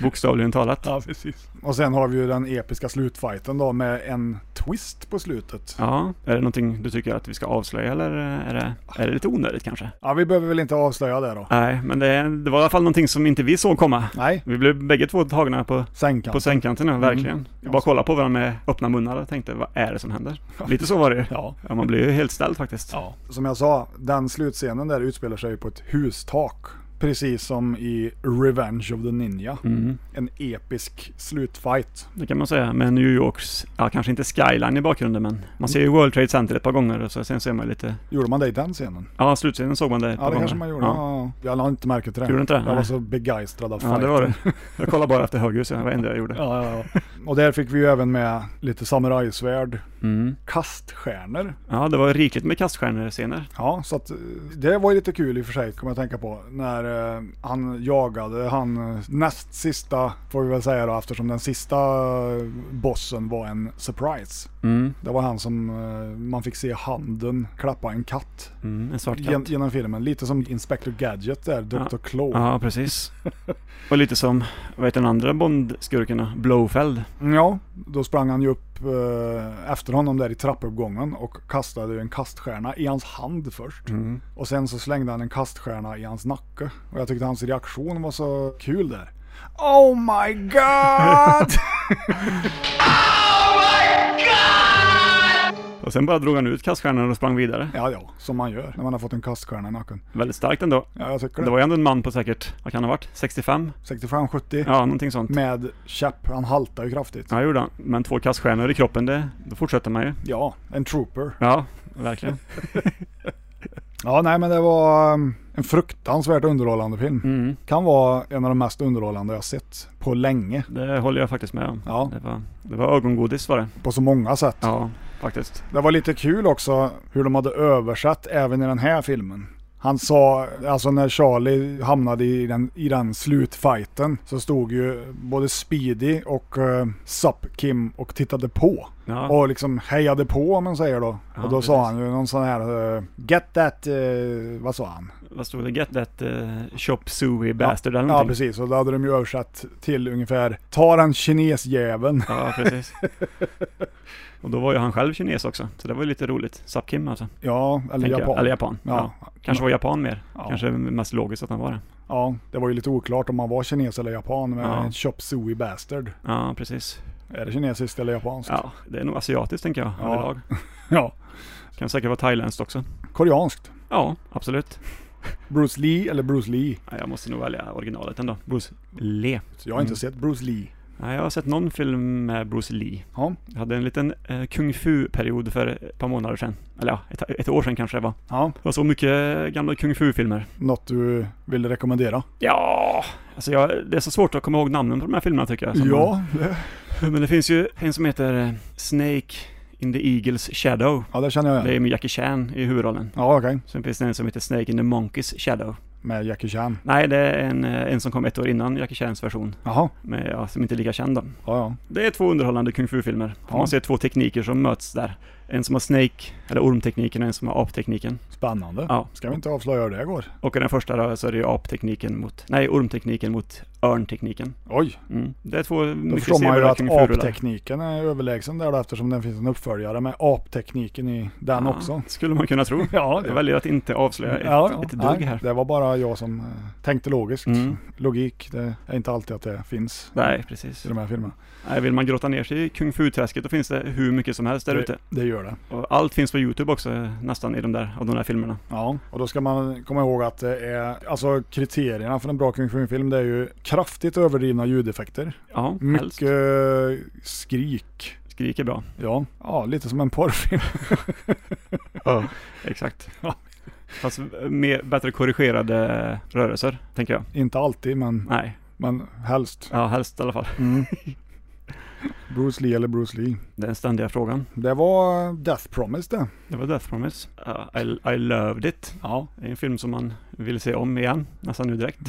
C: Bokstavligen talat.
B: Ja, precis. Och sen har vi ju den episka slutfighten då med en twist på slutet. Ja,
C: Ja, är det någonting du tycker att vi ska avslöja eller är det, är det lite onödigt kanske?
B: vi behöver väl inte avslöja det då.
C: Nej, men det, det var i alla fall någonting som inte vi såg komma.
B: Nej,
C: Vi blev bägge två tagna på,
B: sänkan.
C: på sängkanten,
B: Mm.
C: ja, verkligen. Vi bara kollade på varandra med öppna munnar och tänkte, vad är det som händer? Lite så var det ju.
B: Ja.
C: Ja, man blir ju helt ställd faktiskt.
B: ja. Som jag sa, den slutscenen där utspelar sig på ett hustak. Precis som i Revenge of the Ninja.
C: Mm,
B: En episk slutfight.
C: det kan man säga. Med New Yorks, ja kanske inte skyline i bakgrunden men man ser ju World Trade Center ett par gånger och så, sen ser man lite,
B: Gjorde man det i den scenen?
C: ja slutscenen såg man det ett par
B: Ja, det
C: gånger.
B: kanske man gjorde.
C: Ja,
B: Ja. Jag la inte märke till det.
C: Gjorde du inte det?
B: Jag var
C: Nej.
B: så begeistrad av
C: ja
B: fighten.
C: det var det. Jag kollade bara efter höger så det var det enda jag gjorde.
B: Ja, ja, ja. Och där fick vi ju även med lite samurajsvärd,
C: Mm.
B: kaststjärnor.
C: Ja, det var rikligt med kaststjärnescener.
B: Ja, så att eh, det var ju lite kul i och för sig, kommer jag tänka på. När eh, han jagade, han eh, näst sista, får vi väl säga då, eftersom den sista eh, bossen var en surprise.
C: Mm.
B: Det var han som eh, man fick se handen klappa en katt,
C: Mm, en svart katt.
B: Gen- genom filmen. Lite som Inspector Gadget där, Dr. Claw.
C: Ja, precis. Och lite som, vad heter den andra Bond-skurkarna? Blowfeld.
B: Ja, då sprang han ju upp eh, efter honom där i trappuppgången och kastade ju en kaststjärna i hans hand först.
C: Mm.
B: Och sen så slängde han en kaststjärna i hans nacke. Och jag tyckte hans reaktion var så kul där. Oh my god!
C: Och sen bara drog han ut kaststjärnan och sprang vidare.
B: ja, ja, som man gör när man har fått en kaststjärna i nacken.
C: Väldigt starkt ändå.
B: Ja, jag tycker
C: Det
B: det.
C: var ju ändå en man på säkert, vad kan det ha varit? 65?
B: 65-70
C: Ja, någonting sånt.
B: med käpp. Han haltar ju kraftigt.
C: Ja, det gjorde han. Men två kaststjärnor i kroppen, det, då fortsätter man ju.
B: Ja, en trooper.
C: Ja, verkligen.
B: Ja, nej men det var um, en fruktansvärt underhållande film.
C: Mm.
B: Kan vara en av de mest underhållande jag sett på länge.
C: Det håller jag faktiskt med om.
B: Ja.
C: Det, var, det var ögongodis var det.
B: På så många sätt.
C: Ja, faktiskt.
B: Det var lite kul också hur de hade översatt även i den här filmen. Han sa, alltså när Charlie hamnade i den, i den slutfighten så stod ju både Speedy och uh, Sup Kim och tittade på.
C: Ja.
B: Och liksom hejade på om man säger då.
C: Ja,
B: och då sa
C: precis.
B: han ju någon sån här eh, Get that, eh, vad sa han?
C: Vad stod det? Get that uh, chop suey bastard eller
B: Ja
C: någonting.
B: precis, och då hade de ju översatt till ungefär Ta den kinesjäveln.
C: Ja, precis. Och då var ju han själv kines också, så det var ju lite roligt. Sap Kim alltså.
B: Ja, eller
C: tänker jag.
B: japan.
C: Eller japan. Ja.
B: Ja.
C: Kanske var japan mer.
B: Ja.
C: Kanske mest logiskt att han var det.
B: ja, det var ju lite oklart om han var kines eller japan men
C: Ja.
B: en chop suey bastard.
C: Ja, precis.
B: Är det kinesiskt eller japanskt?
C: Ja, det är nog asiatiskt tänker jag
B: Ja.
C: överlag.
B: Ja.
C: Kan säkert vara thailändskt också.
B: Koreanskt.
C: Ja, absolut.
B: Bruce Lee eller Bruce Lee.
C: Ja, jag måste nog välja originalet ändå. Bruce Lee.
B: Jag har
C: Mm.
B: inte sett Bruce Lee.
C: Nej, jag har sett någon film med Bruce Lee.
B: Ja.
C: Jag hade en liten eh, kung fu-period för ett par månader sedan. Eller ja, ett, ett år sedan kanske det var.
B: ja.
C: Jag såg mycket eh, gamla kung fu-filmer.
B: Något du vill rekommendera?
C: Ja, alltså jag, det är så svårt att komma ihåg namnen på de här filmerna tycker jag. som man-
B: Ja, det,
C: Alltså, Men det finns ju en som heter eh, Snake in the Eagles Shadow.
B: ja, det känner jag
C: Det
B: igen.
C: är med Jackie Chan i huvudrollen.
B: Ja, okej.
C: Sen finns det en som heter Snake in the Monkeys Shadow.
B: Med Jackie Chan.
C: Nej, det är en, eh, en som kom ett år innan Jackie Chans version,
B: Jaha,
C: med, ja, som inte är lika känd då.
B: ja, ja.
C: Det är två underhållande kung fu-filmer.
B: Ja.
C: Man ser två tekniker som möts där. En som har Snake, eller ormtekniken, och en som har aptekniken.
B: Spännande.
C: Ja.
B: Ska vi inte avslöja hur det går?
C: Och i den första då, så är det ju aptekniken mot, nej ormtekniken mot örntekniken.
B: Oj!
C: Mm. Det är två
B: Då
C: mycket
B: förstår man ju
C: sevärda
B: att
C: kungfuror där.
B: aptekniken är överlägsen där då, eftersom den finns en uppföljare med aptekniken i den
C: Ja,
B: också.
C: Skulle man kunna tro.
B: Ja, Mm,
C: Jag väljer att inte avslöja ett,
B: Ja, ja.
C: ett
B: Nej,
C: dugg här.
B: Det var bara jag som eh, tänkte logiskt.
C: Mm.
B: Logik, det är inte alltid att det finns
C: Nej, precis.
B: i de här filmerna.
C: Nej, vill man grotta ner sig i kung fu-träsket då finns det hur mycket som helst där
B: Det,
C: ute.
B: det gör det.
C: Och allt finns på Youtube också eh, nästan i de där, av de där filmerna.
B: Ja, och då ska man komma ihåg att det är, alltså kriterierna för en bra Kung Fu-film det är ju kraftigt överdrivna ljudeffekter,
C: Ja, helst.
B: mycket eh, skrik,
C: Skrik är bra.
B: ja, ja lite som en porrfilm.
C: Exakt. Fast mer, bättre korrigerade eh, rörelser, tänker jag.
B: Inte alltid, men,
C: Nej,
B: men helst.
C: ja helst i alla fall.
B: Bruce Lee eller Bruce Lee.
C: Den ständiga frågan.
B: Det var eh, Death Promise det.
C: Det var Death Promise. Ja, I, I loved it.
B: Ja.
C: Det är en film som man vill se om igen, nästan nu direkt.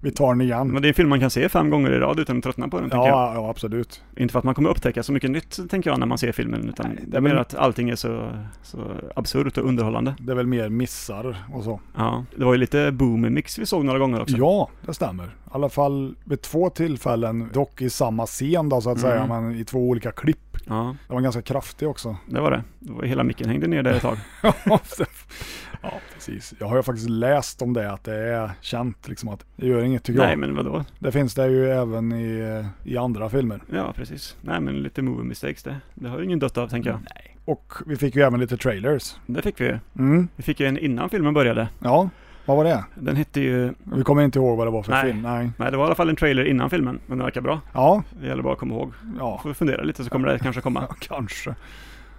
B: Vi tar den igen.
C: Men det är en film man kan se fem gånger i rad utan att tröttna på den, tänker jag.
B: Ja, ja, absolut.
C: Inte för att man kommer upptäcka så mycket nytt, tänker jag, när man ser filmen, utan det är mer att allting är så, så absurt och underhållande.
B: Det är väl mer missar och så.
C: Ja. Det var ju lite boom-mix vi såg några gånger också.
B: Ja, det stämmer. I alla fall vid två tillfällen, dock i samma scen då så att
C: Mm.
B: säga, men i två olika klipp.
C: Ja,
B: Den var ganska kraftig också.
C: det var det. det var, hela micken hängde ner där ett tag.
B: ja, precis. Jag har ju faktiskt läst om det, att det är känt liksom att det gör inget tycker
C: Nej,
B: jag.
C: men vadå?
B: Det finns det ju även i, i andra filmer.
C: Ja, precis. Nej, men lite movie mistakes det. Det har ju ingen dött av, tänker jag.
B: Och vi fick ju även lite trailers.
C: Det fick vi ju.
B: Mm,
C: Vi fick ju en innan filmen började.
B: ja. Vad var det?
C: Den hette ju...
B: Vi kommer inte ihåg vad det var för
C: Nej.
B: film. Nej.
C: Nej, det var i alla fall en trailer innan filmen, men den verkar bra.
B: Ja,
C: Det gäller bara att komma ihåg.
B: ja,
C: Får vi fundera lite så kommer det kanske komma.
B: ja, kanske.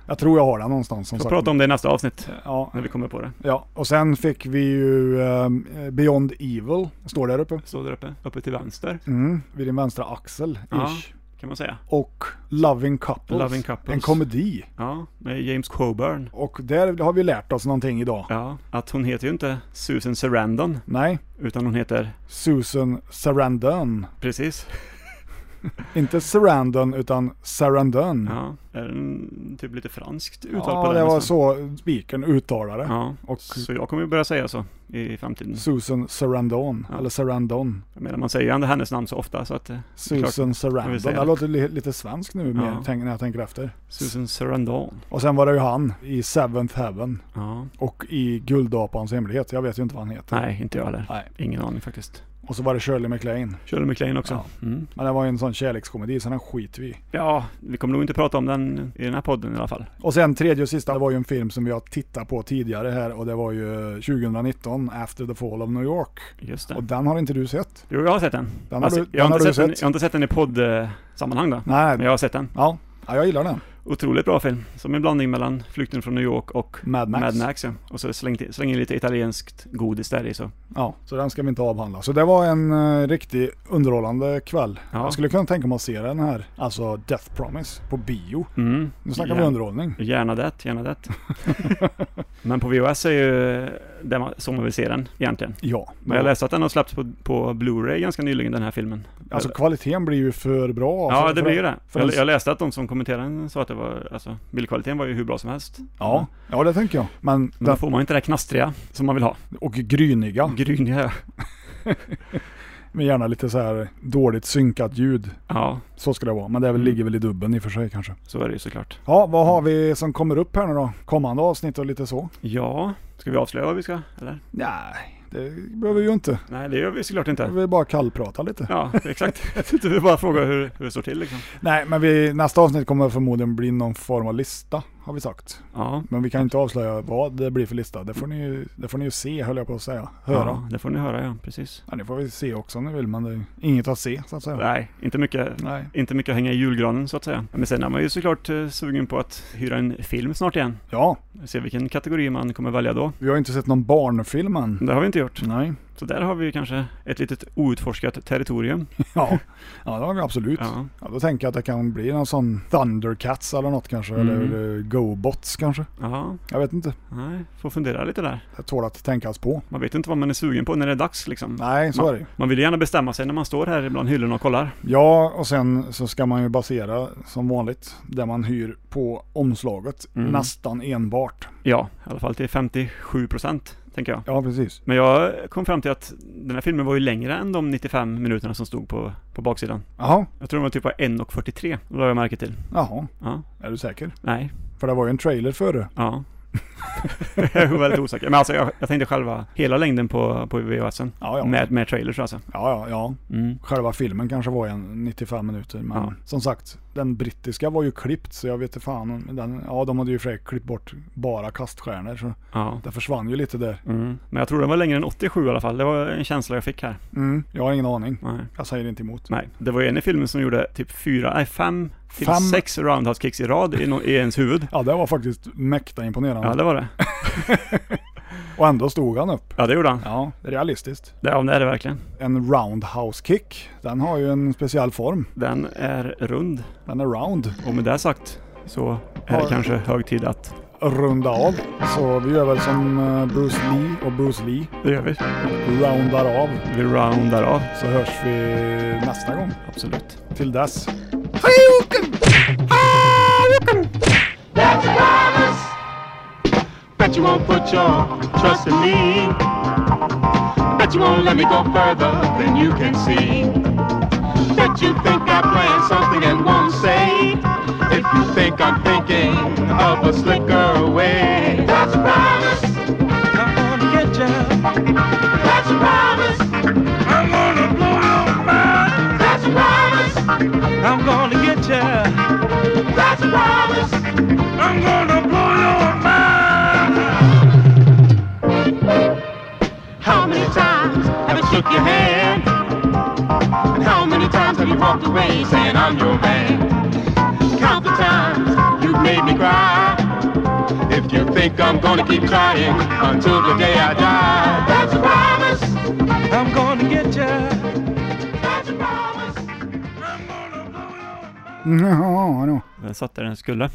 B: Jag tror jag har den någonstans som
C: Vi får
B: sagt.
C: prata om det i nästa avsnitt,
B: Ja,
C: när vi kommer på det.
B: ja, och sen fick vi ju eh, Beyond Evil, står där uppe.
C: Står där uppe, uppe till vänster,
B: Mm, vid din vänstra axel, ish.
C: Ja. kan man säga.
B: Och Loving Couples,
C: Loving Couples.
B: en komedi.
C: Ja, med James Coburn.
B: Och där har vi lärt oss någonting idag.
C: Ja, att hon heter ju inte Susan Sarandon,
B: Nej,
C: utan hon heter...
B: Susan Sarandon.
C: Precis.
B: Inte Sarandon, utan Sarandon.
C: Ja, är den typ lite franskt uttal
B: Ja,
C: på den
B: det var
C: nästan.
B: så speakern uttalade.
C: Ja,
B: Och-
C: så jag kommer ju börja säga så i framtiden.
B: Susan Sarandon,
C: Ja.
B: eller Sarandon.
C: Jag menar, man säger ju ändå hennes namn så ofta så att... eh, klart.
B: Susan
C: Jag
B: Sarandon.
C: vill säga
B: Det
C: det.
B: låter li- lite svensk nu mer,
C: Ja.
B: tänk, när jag tänker efter.
C: Susan Sarandon.
B: Och sen var det ju han i Seventh Heaven
C: Ja.
B: och i Guldapans hemlighet. Jag vet ju inte vad han heter.
C: Nej, inte jag heller.
B: Nej.
C: Ingen aning faktiskt.
B: Och så var det Shirley MacLaine.
C: Shirley MacLaine också.
B: Ja.
C: Ja. Mm.
B: Men det var ju en sån kärlekskomedi, så den skiter vi i.
C: ja, vi kommer nog inte prata om den i den här podden i alla fall.
B: Och sen tredje och sista, det var ju en film som vi har tittat på tidigare här och det var ju 2019, After the Fall of New York.
C: Just det.
B: Och den har inte du sett?
C: Jo, jag har sett den.
B: Den har
C: Alltså,
B: du- den
C: jag, har
B: har
C: inte
B: du
C: sett den
B: sett.
C: jag har inte sett den i poddsammanhang då.
B: Nej.
C: Men jag har sett den.
B: Ja. ja, jag gillar den.
C: Otroligt bra film. Som en blandning mellan Flykten från New York och
B: Mad Max.
C: Mad Max ja. Och så släng, till- släng in lite italienskt godis där i så.
B: Ja, så den ska vi inte avhandla. Så det var en eh, riktigt underhållande kväll.
C: Ja.
B: Jag skulle kunna tänka mig att se den här, alltså Death Promise, på bio.
C: Mm.
B: Nu snackar vi
C: Ja.
B: underhållning.
C: Gärna det, gärna det. Men på VHS är ju där man, som man vill se den egentligen.
B: Ja,
C: Men jag läste att den har släppts på, på Blu-ray ganska nyligen den här filmen.
B: alltså kvaliteten blir ju för bra.
C: ja,
B: för,
C: det
B: för,
C: blir ju det.
B: för
C: Jag,
B: en-
C: jag läste att de som kommenterade den sa att det var, alltså bildkvaliteten var ju hur bra som helst.
B: Ja, ja det tänker jag. Men,
C: Men
B: den,
C: då får man ju inte det här knastriga som man vill ha.
B: och gryniga,
C: Gryniga ja.
B: med gärna lite så här dåligt synkat ljud.
C: Ja,
B: Så ska det vara, men det är väl, ligger väl i dubben i och för sig kanske.
C: så är det ju såklart.
B: Mm. Ja, vad har vi som kommer upp här nu då? Kommande avsnitt och lite så?
C: Ja, ska vi avslöja vad vi ska, eller?
B: Nej, det behöver vi ju inte.
C: Nej, det gör vi såklart
B: Vi
C: inte.
B: vill bara kallprata lite.
C: Ja, exakt. Jag vill bara fråga hur, hur det står till liksom.
B: Nej, men vi, nästa avsnitt kommer förmodligen bli någon form av lista, har vi sagt.
C: Ja.
B: Men vi kan inte avslöja vad det blir för lista. Det får ni ju, det får ni ju se, höll jag på att säga. Höra.
C: ja, det får ni höra ja, precis.
B: Ja, det får vi se också om ni vill, men det är inget att se så att säga.
C: Nej, inte mycket,
B: Nej.
C: inte mycket att hänga i julgranen så att säga. Men sen är man ju såklart eh, sugen på att hyra en film snart igen.
B: Ja,
C: Se vilken kategori man kommer välja då.
B: vi har ju inte sett någon barnfilm än. typ.
C: Det har vi inte gjort.
B: Nej.
C: Så där har vi ju kanske ett litet outforskat territorium.
B: Ja, ja det har vi absolut.
C: Ja.
B: Ja, då tänker jag att det kan bli någon sån Thundercats eller något kanske.
C: Mm.
B: Eller eh, GoBots kanske.
C: Jaha,
B: Jag vet inte.
C: nej, får fundera lite där.
B: Det tål att tänkas på.
C: Man vet inte vad man är sugen på när det är dags liksom.
B: Nej, så
C: man,
B: är det ju.
C: Man vill ju gärna bestämma sig när man står här bland hyllorna och kollar.
B: Ja, och sen så ska man ju basera som vanligt det man hyr på omslaget.
C: Mm.
B: Nästan enbart.
C: Ja, i alla fall till 57 procent, tänker jag.
B: Ja, precis.
C: Men jag kom fram till att den här filmen var ju längre än de 95 minuterna som stod på, på baksidan.
B: Jaha,
C: Jag tror den var typ var 1.43, det la jag märke till.
B: jaha.
C: Ja,
B: Är du säker?
C: nej,
B: För det var ju en trailer före.
C: ja. jag var väldigt osäker. Men alltså jag, jag tänkte själva hela längden på, på VHSen.
B: Ja, ja.
C: Med, med trailers alltså.
B: Ja, ja, ja.
C: Mm.
B: Själva filmen kanske var en 95 minuter. Men
C: Ja.
B: som sagt, den brittiska var ju klippt så jag vet inte fan. om Den, ja, de hade ju i och för sig klippt bort bara kaststjärnor så
C: Ja.
B: det försvann ju lite där.
C: Mm. Men jag tror den var längre än 87 i alla fall. Det var en känsla jag fick här.
B: Mm, jag har ingen aning.
C: Nej.
B: Jag säger inte emot.
C: Nej, det var ju en i filmen som gjorde typ fyra, nej fem till
B: Fem.
C: sex roundhouse kicks i rad i, no, i ens huvud.
B: Ja, det var faktiskt mäkta imponerande.
C: Ja, det var det.
B: Och ändå stod han upp.
C: Ja, det gjorde han.
B: Ja, realistiskt.
C: Det, ja, det är det verkligen.
B: En roundhouse kick, den har ju en speciell form.
C: Den är rund.
B: Den är round.
C: Och med det sagt så är det
B: Ja.
C: kanske hög tid att...
B: Runda av. Så vi gör väl som eh, Bruce Lee och Bruce Lee.
C: Det gör vi.
B: Roundar av.
C: Vi roundar av.
B: Så hörs vi nästa gång.
C: Absolut.
B: Till dess.
K: That's a promise. Bet you won't put your trust in me. Bet you won't let me go further than you can see. Bet you think I plan something and won't say. If you think I'm thinking of a slicker way. That's a promise. I'm gonna get ya. That's a promise. I'm gonna blow out mine. That's a promise. I'm gonna get ya. That's a promise. I'm gonna blow your mind. How many times have I shook your hand? And how many times have you walked away saying I'm your man? Count the times you've made me cry. If you think I'm gonna keep trying until the day I die, that's a promise. I'm gonna get you. That's a promise. I'm gonna blow your mind.
B: Ja, då.
C: Den satt där den skulle.